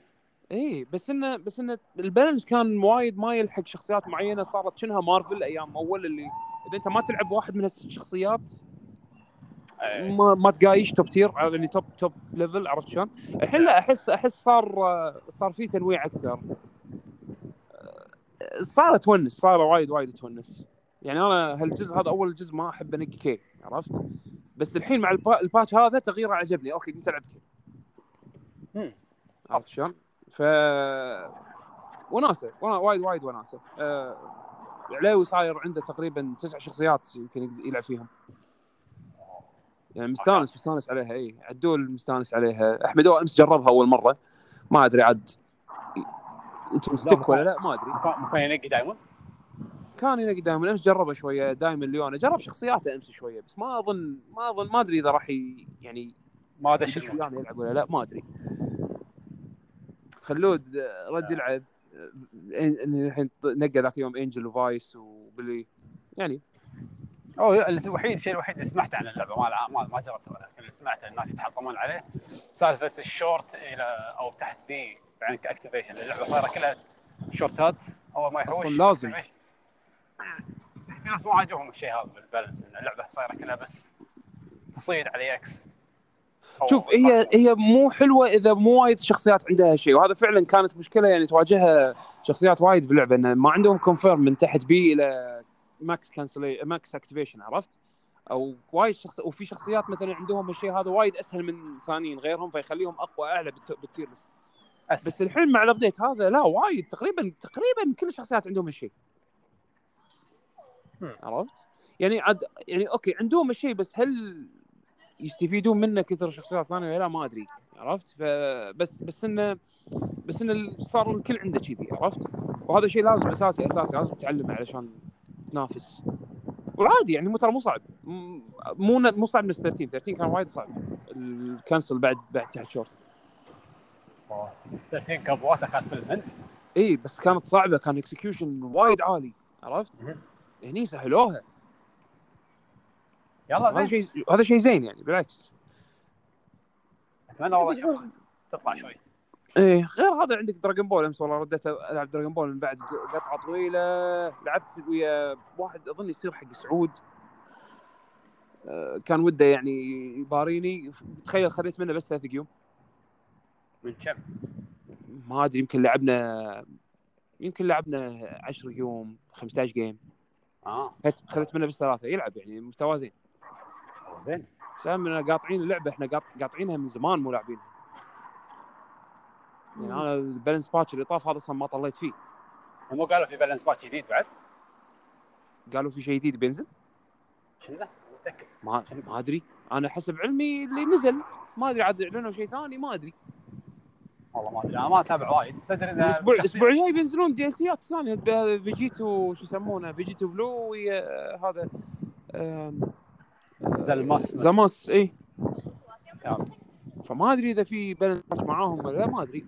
إيه، بس انه بس انه البالانس كان وايد مايل حق شخصيات معينه صارت شنها مارفل ايام اول اللي اذا انت ما تلعب واحد من هالشخصيات
إيه.
ما ما تقايش توب تير يعني توب توب ليفل عرفت شلون؟ الحين لا احس احس صار صار في تنويع اكثر. صار تونس صار وايد وايد تونس. يعني انا هالجزء هذا اول جزء ما احب انقي كيل عرفت؟ بس الحين مع البا- الباتش هذا تغييره عجبني اوكي قمت العب كيل.
مم.
عرفت شلون؟ ف وناسه ونا- وايد وايد وناسه. آه، العلاوي صاير عنده تقريبا تسع شخصيات يمكن يلعب فيهم. يعني مستانس مستانس عليها اي عدول مستانس عليها احمد أو امس جربها اول مره ما ادري عاد تمستك ولا لا ما ادري
مكان ينقي دائما
كان ينقي دائما امس جربه شويه دائما ليونه جرب شخصياته امس شويه بس ما اظن ما اظن ما ادري اذا راح ي- يعني
ما
يدش
دش المود.
ويانا يلعب ولا لا ما ادري خلود آه، رد يلعب آه، الحين نقى ذاك اليوم انجل وفايس وبلي يعني
أو الوحيد الشيء الوحيد اللي سمعته عن اللعبه ما لع- ما, ما جربته ولكن اللي سمعته الناس يتحطمون عليه سالفه الشورت الى او تحت بي يعني كاكتيفيشن اللعبه صايره كلها شورتات اول ما يحوش
أصلاً لازم.
activation. في ناس ما عاجبهم الشيء هذا بالبالانس ان اللعبه صايره كلها بس تصيد على اكس
شوف هي هي مو حلوه اذا مو وايد شخصيات عندها شيء وهذا فعلا كانت مشكله يعني تواجهها شخصيات وايد باللعبه انه ما عندهم كونفيرم من تحت بي الى ماكس كانسلي ماكس اكتيفيشن عرفت؟ او وايد شخص وفي شخصيات مثلا عندهم الشيء هذا وايد اسهل من ثانيين غيرهم فيخليهم اقوى اعلى بالت- بالتير ليست
بس
بس الحين مع الابديت هذا لا وايد تقريبا تقريبا كل الشخصيات عندهم هالشيء
مم.
عرفت؟ يعني عاد يعني اوكي عندهم هالشيء بس هل يستفيدون منه كثر الشخصيات الثانيه ولا لا ما ادري عرفت؟ فبس بس انه بس انه ال- صار الكل عنده كذي عرفت؟ وهذا شيء لازم اساسي اساسي لازم تعلمه علشان تنافس وعادي يعني مو ترى مو صعب م- مو مو صعب نفس 30 30 كان وايد صعب الكنسل بعد بعد تحت شورت
30 كبواته كانت في الهند
اي بس كانت صعبه كان اكسكيوشن وايد عالي عرفت؟
مهم.
هني سهلوها
يلا
هذا
آه، زين
شيء هذا شيء زين يعني بالعكس
اتمنى والله اشوفها تطلع شوي
ايه غير هذا عندك دراجون بول امس والله رديت العب دراجون بول من بعد قطعه طويله لعبت ويا واحد اظن يصير حق سعود آه، كان وده يعني يباريني تخيل خذيت منه بس ثلاث جيوم
من كم
ما ادري يمكن لعبنا يمكن لعبنا 10 يوم 15 جيم
اه
خذيت- خذيت منه بس ثلاثه يلعب يعني مستوى زين
زين
سامنا قاطعين اللعبه احنا قاط- قاطعينها من زمان مو لاعبينها يعني انا البالانس باتش اللي طاف هذا اصلا ما طليت فيه
مو قالوا في بالانس باتش جديد بعد
قالوا في شيء جديد بينزل
شنو متاكد
ما ما ادري انا حسب علمي اللي نزل ما ادري عاد اعلنوا شيء ثاني ما ادري
والله ما ادري انا ما اتابع وايد بس ادري انه
الاسبوع
شخصية-
الاسبوع الجاي بينزلون دي ال سيات ثانيه ب- فيجيتو شو يسمونه فيجيتو بلو ويا هذا آم،
زلماس
زاماس اي
نعم.
فما ادري اذا في بالانس ماتش معاهم ولا لا ما ادري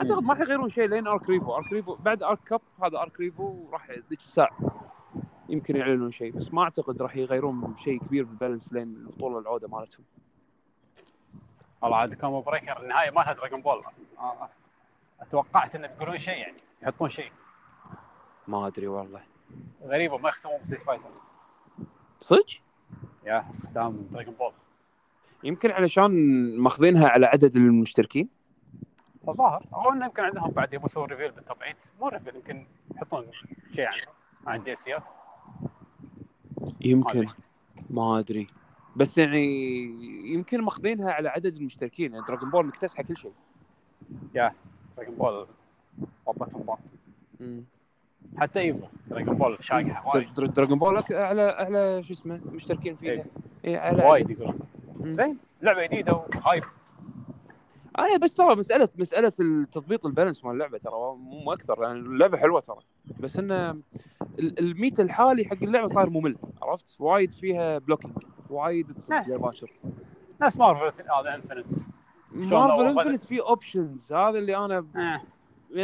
اعتقد ما راح يغيرون شيء لين ارك ريفو ارك ريفو بعد ارك كاب هذا ارك ريفو راح ذيك الساعه يمكن يعلنون شيء بس ما اعتقد راح يغيرون شيء كبير بالبالانس لين البطوله العوده مالتهم
والله عاد كومبو بريكر النهايه مالها دراجون بول آه. توقعت انه بيقولون شيء يعني يحطون شيء
ما ادري والله
غريبه ما يختمون بستيت فايتر
صدق
يا ختام دراجون بول
يمكن علشان ماخذينها على عدد المشتركين
الظاهر او انه يمكن عندهم بعد يبون يسوون ريفيل بالتبعيد مو ريفيل يمكن يحطون شيء عنه عن الديسيات
يمكن ما ادري بس يعني يمكن ماخذينها على عدد المشتركين يعني دراجون بول مكتسحه كل شيء
دراجون بول ضبطهم بعض حتى ايفو دراجون بول شايحه وايد إيه.
در- در- دراجون بول أك- على على شو اسمه مشتركين فيها اي على
وايد يقولون
مم.
زين لعبه جديده وهايب
آه بس ترى مساله مساله التضبيط البالانس مال اللعبه ترى مو مو اكثر يعني اللعبه حلوه ترى بس انه ال- الميت الحالي حق اللعبه صار ممل عرفت وايد فيها بلوكينج وايد
إيه.
تصد يا باشر
نفس مارفل هذا انفنت
مارفل
أول
انفنت في اوبشنز هذا اللي انا
آه.
لا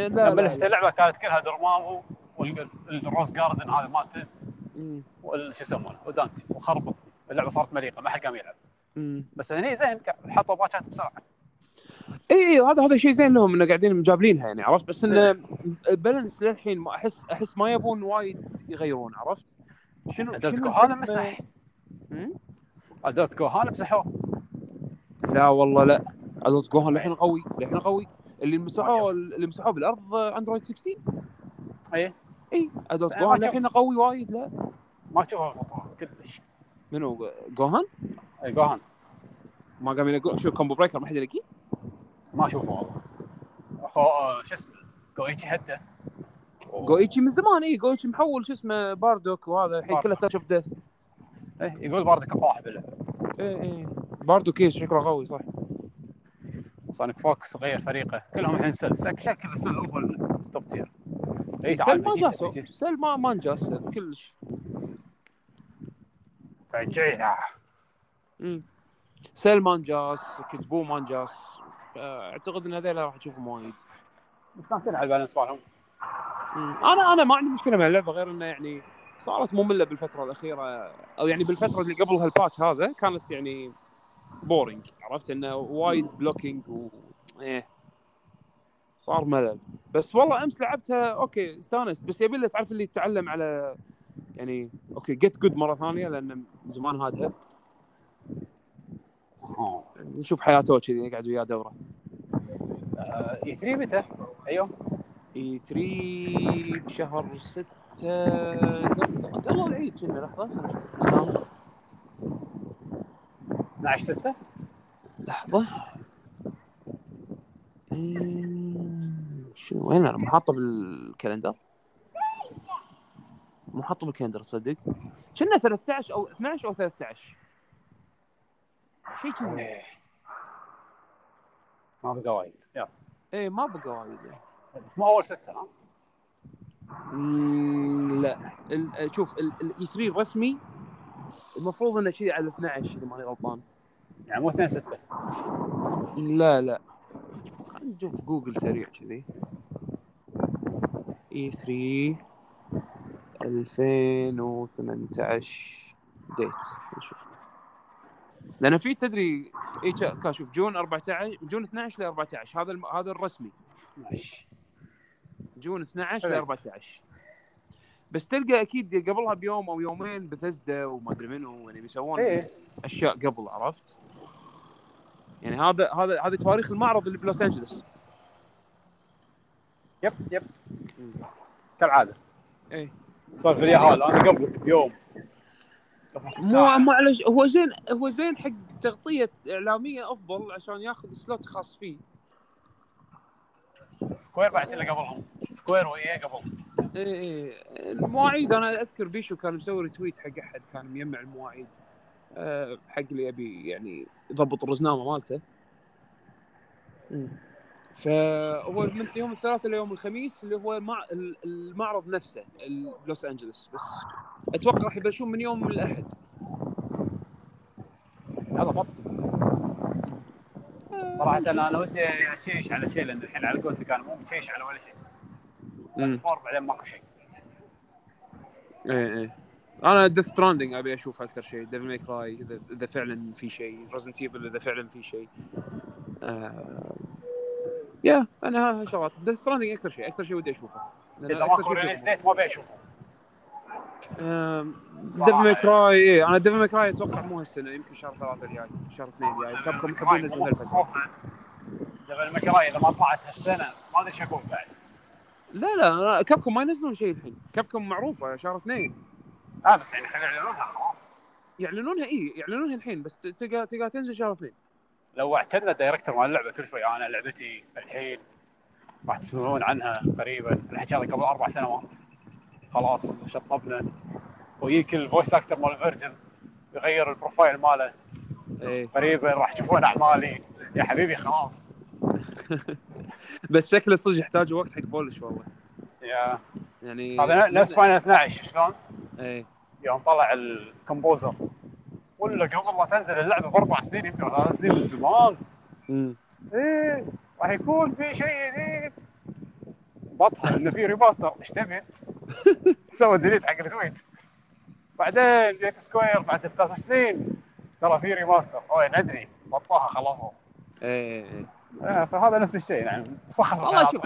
إيه، لا,
لما
لا,
بلشت اللعبه كانت كلها درمام والروز جاردن هذا مالته
مم.
وال- شو يسمونه ودانتي وخربط اللعبه صارت مليقه ما حد قام يلعب
مم.
بس هني زين ك- حطوا باتشات بسرعه
اي اي إيه، هذا هذا شيء زين لهم انه قاعدين مجابلينها يعني عرفت بس انه البالانس للحين ما احس احس ما يبون وايد يغيرون عرفت؟ شنو
ادلت
شنو
كوهانا
الحكمة؟
مسح
مم؟
ادلت كوهانا مسحوه
لا والله لا ادلت جوهان للحين قوي للحين قوي اللي مسحوه اللي مسحوه بالارض اندرويد 16
إيه.
اي ادلت
ما
جوهان
شوف.
للحين قوي وايد لا
ما تشوفه بالبطولات كلش إيه،
منو جوهان؟
أي كوهانا
ما قام يلاقون شو كومبو بريكر ما حد يلاقيه؟
ما اشوفه والله اخو آه، شو اسمه كويتشي حتى
جويتشي من زمان اي جويتشي محول شو اسمه باردوك وهذا الحين كله تاتش اوف ديث
إيه، يقول برضه كفاح باللعبه
اي اي باردوك إيه، شكله قوي صح
سونيك فوكس غير فريقه كلهم الحين سل سك- شكل سل اول توب تير اي إيه، تعال
سل ما
بجيك-
انجاز
بجيك.
سل ما ما انجاز كلش
بجيك.
مم. سل ما انجاز كتبو ما انجاز اعتقد ان هذول راح تشوفهم وايد
بس كان تلعب بالانس مالهم
مم. انا انا ما عندي مشكله مع اللعبه غير انه يعني صارت ممله بالفتره الاخيره او يعني بالفتره اللي قبل هالباتش هذا كانت يعني بورينج عرفت انه وايد بلوكينج و ايه صار ملل بس والله امس لعبتها اوكي استانست بس يبي له تعرف اللي يتعلم على يعني اوكي جيت جود مره ثانيه لان من زمان هذا
آه.
نشوف حياته كذي يقعد وياه دوره
آه، يدري متى؟ ايوه
اي 3 E بشهر 6 قبل العيد كنا لحظه خلنا نشوف.
12 6
لحظه أمم، شو وين انا محاطه بالكالندر محاطه بالكالندر تصدق كنا 13 او 12 او 13 شيء كنا
إيه. ما بقى وايد يلا
اي إيه، ما بقى وايد
مو اول سته ها؟
أمم، لا ال- شوف الاي 3 الرسمي المفروض انه شيء على 12 اذا ماني غلطان
يعني مو 2 6
لا لا خلينا نشوف جوجل سريع كذي E اي 3 2018 ديت نشوف لان في تدري اي كا- كا- شوف جون 14 جون 12 ل 14 هذا الم... هذا الرسمي
ماشي
جون 12 ل
حلو.
14 بس تلقى اكيد قبلها بيوم او يومين بثزدا وما ادري منو يعني بيسوون
ايه
اشياء قبل عرفت؟ يعني هذا هذا هذه تواريخ المعرض اللي بلوس انجلس
يب يب كالعاده
ايه
سولف لي هال انا قبلك بيوم
مو مو على ش- هو زين هو زين حق تغطيه اعلاميه افضل عشان ياخذ سلوت خاص فيه
سكوير بعد اللي قبلهم سكوير وايه قبل
اي اي إيه، المواعيد انا اذكر بيشو كان مسوي تويت حق احد كان مجمع المواعيد أه، حق اللي يبي يعني يضبط الرزنامه مالته أمم. فهو من يوم الثلاثاء ليوم الخميس اللي هو مع ال- المعرض نفسه ال- لوس انجلوس بس اتوقع راح يبلشون من يوم الاحد
يلا بط صراحه انا انا ودي اشيش على شيء لان الحين على قولتك انا مو مشيش على ولا شيء
امم
فور بعدين ماكو شيء
ايه ايه انا ديث ستراندنج ابي اشوف اكثر شيء ديفل ميك راي اذا إذا فعلا في شيء ريزنت ايفل اذا فعلا في شيء آه... يا انا ها- ها شغلات ديث ستراندنج اكثر شيء اكثر شيء ودي اشوفه لأن
اذا
أكثر
ماكو
شيء آه،
ريليز
شفته.
ديت ما ابي اشوفه
ديفل ماي كراي ايه انا ديفل ماي كراي اتوقع مو هالسنه يمكن شهر ثلاثه الجاي شهر اثنين
يعني
الجاي كابكم يحبون ينزلون هالفتره
لما المكراي اذا ما طلعت هالسنه ما ادري ايش اقول بعد
لا لا كابكم ما ينزلون شيء الحين كابكم معروفه شهر اثنين
اه بس يعني خلينا يعلنونها خلاص
يعلنونها اي يعلنونها الحين بس تلقى تلقى تنزل شهر اثنين
لو اعتدنا الدايركتور مال اللعبه كل شوي انا لعبتي الحين راح تسمعون عنها قريبا الحكي هذا قبل اربع سنوات خلاص شطبنا ويجيك الفويس اكتر مال فيرجن يغير البروفايل ماله
ايه
قريبا راح تشوفون اعمالي يا حبيبي خلاص
بس شكله صدق يحتاج وقت حق بولش والله
يا
يعني
هذا نفس فاينل 12 شلون؟
ايه
يوم طلع الكمبوزر ولا قبل لا تنزل اللعبه باربع سنين يمكن ولا ثلاث سنين من زمان
أمم.
ايه راح يكون في شيء جديد بطل انه في ريماستر ايش تبي؟ سوى ديليت حق التويت بعدين جيت سكوير بعد ثلاث سنين ترى في ريماستر اوه ندري بطلها خلصوا
ايه إيه.
آه فهذا نفس الشيء يعني صح
والله شوف.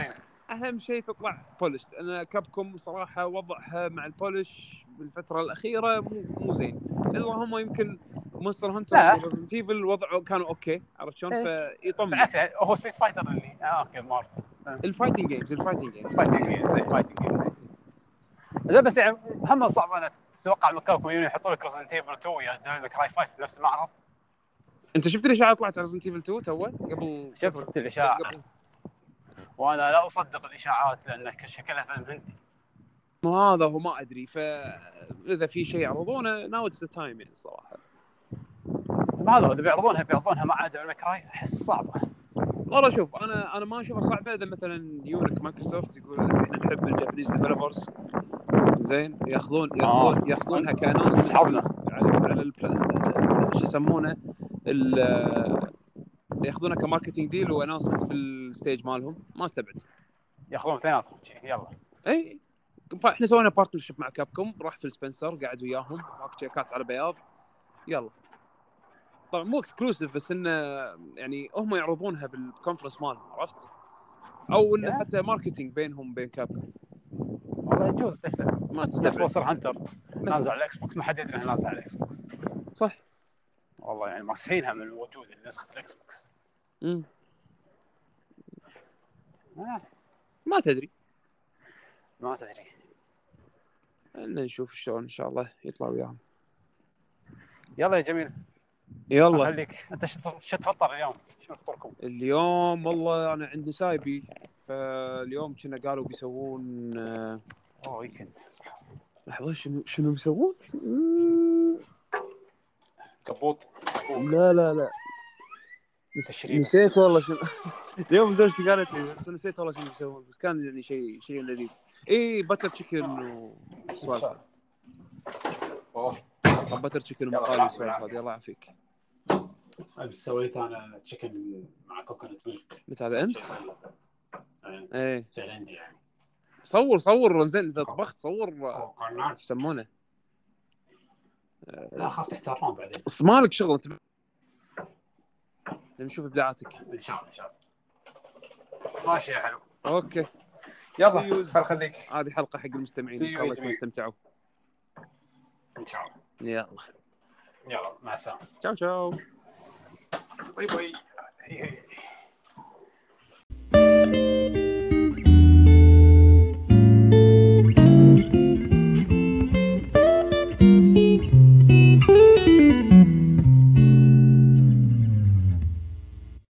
اهم شيء تطلع بولش انا كابكم صراحه وضعها مع البولش بالفتره الاخيره مو مو زين اللهم يمكن مونستر هانتر
لا. إيه.
وريزنت ايفل وضعه كانوا اوكي عرفت شلون فيطمن
بالعكس هو ستريت فايتر اللي اه اوكي مارت
الفايتنج جيمز الفايتنج جيمز
فايتنج جيمز فايتنج جيمز زين بس يعني هم صعب انا اتوقع من كوكب يحطوا لك ريزنت ايفل 2 ويا دايناميك كراي 5 في نفس المعرض
انت شفت الاشاعه طلعت على ريزنت ايفل 2 توه قبل
شفت الاشاعه
قبل-
وانا لا اصدق الاشاعات لان شكلها فيلم هندي
ما هذا هو ما ادري فاذا في شيء يعرضونه ناو ذا تايم يعني صراحه
ما هذا هو اذا بيعرضونها بيعرضونها مع دايناميك كراي احس صعبه
والله شوف انا انا ما اشوفها صعبه اذا مثلا يونك مايكروسوفت يقول لك احنا نحب الجابانيز ديفلوبرز زين ياخذون ياخذون
آه.
ياخذونها كانونس
تسحبنا
على على البلا- شو يسمونه ال- ياخذونها كماركتينج ديل واناونسمنت بالستيج مالهم ما استبعد
ياخذون اثنيناتهم شي، يلا
اي فاحنا سوينا بارتنرشيب مع كابكوم راح فيل سبنسر قعد وياهم ماك تشيكات على بياض يلا طبعا مو اكسكلوسيف بس انه يعني هم يعرضونها بالكونفرنس مالهم عرفت؟ او انه
Yeah.
حتى ماركتينج بينهم وبين كابكوم
والله يجوز تفتح
ما
نفس
تستبعد
مونستر هانتر نازل على الاكس بوكس ما حد يدري انه نازل على الاكس بوكس
صح
والله يعني ماسحينها من وجود نسخه الاكس بوكس
مم.
آه،
ما تدري
ما تدري
إلا نشوف شلون ان شاء الله يطلع وياهم
يلا يا جميل
يلا
خليك انت شو شو تفطر اليوم؟ شنو فطوركم؟
اليوم والله انا عندي سايبي فاليوم كنا قالوا بيسوون آه،
اوه ويكند Oh, صح
لحظه شنو شنو بيسوون؟ مم.
كبوط
لا لا لا
تشريب.
نسيت والله شنو اليوم زوجتي قالت لي بس نسيت والله شنو بيسوون بس كان يعني شيء شيء لذيذ اي باتر تشيكن و سوالف.
اوه
باتر تشيكن
يلا،
ومقالي
بالعافية،
والسوالف
بالعافية.
هذه الله يعافيك
امس سويت انا تشيكن مع كوكونات ميلك
متى هذا امس؟ ايه
تايلاندي يعني
صور صور زين اذا طبخت صور آه،
كوكونات
شو يسمونه
لا اخاف تحتارون بعدين
بس مالك شغل انت لما نشوف ابداعاتك
ان شاء الله ان شاء الله ماشي يا حلو
اوكي
يلا خل خليك
هذه حلقه حق المستمعين ان شاء الله تكونوا استمتعوا
ان شاء الله
يلا
يلا مع السلامه
تشاو تشاو
باي باي هي هي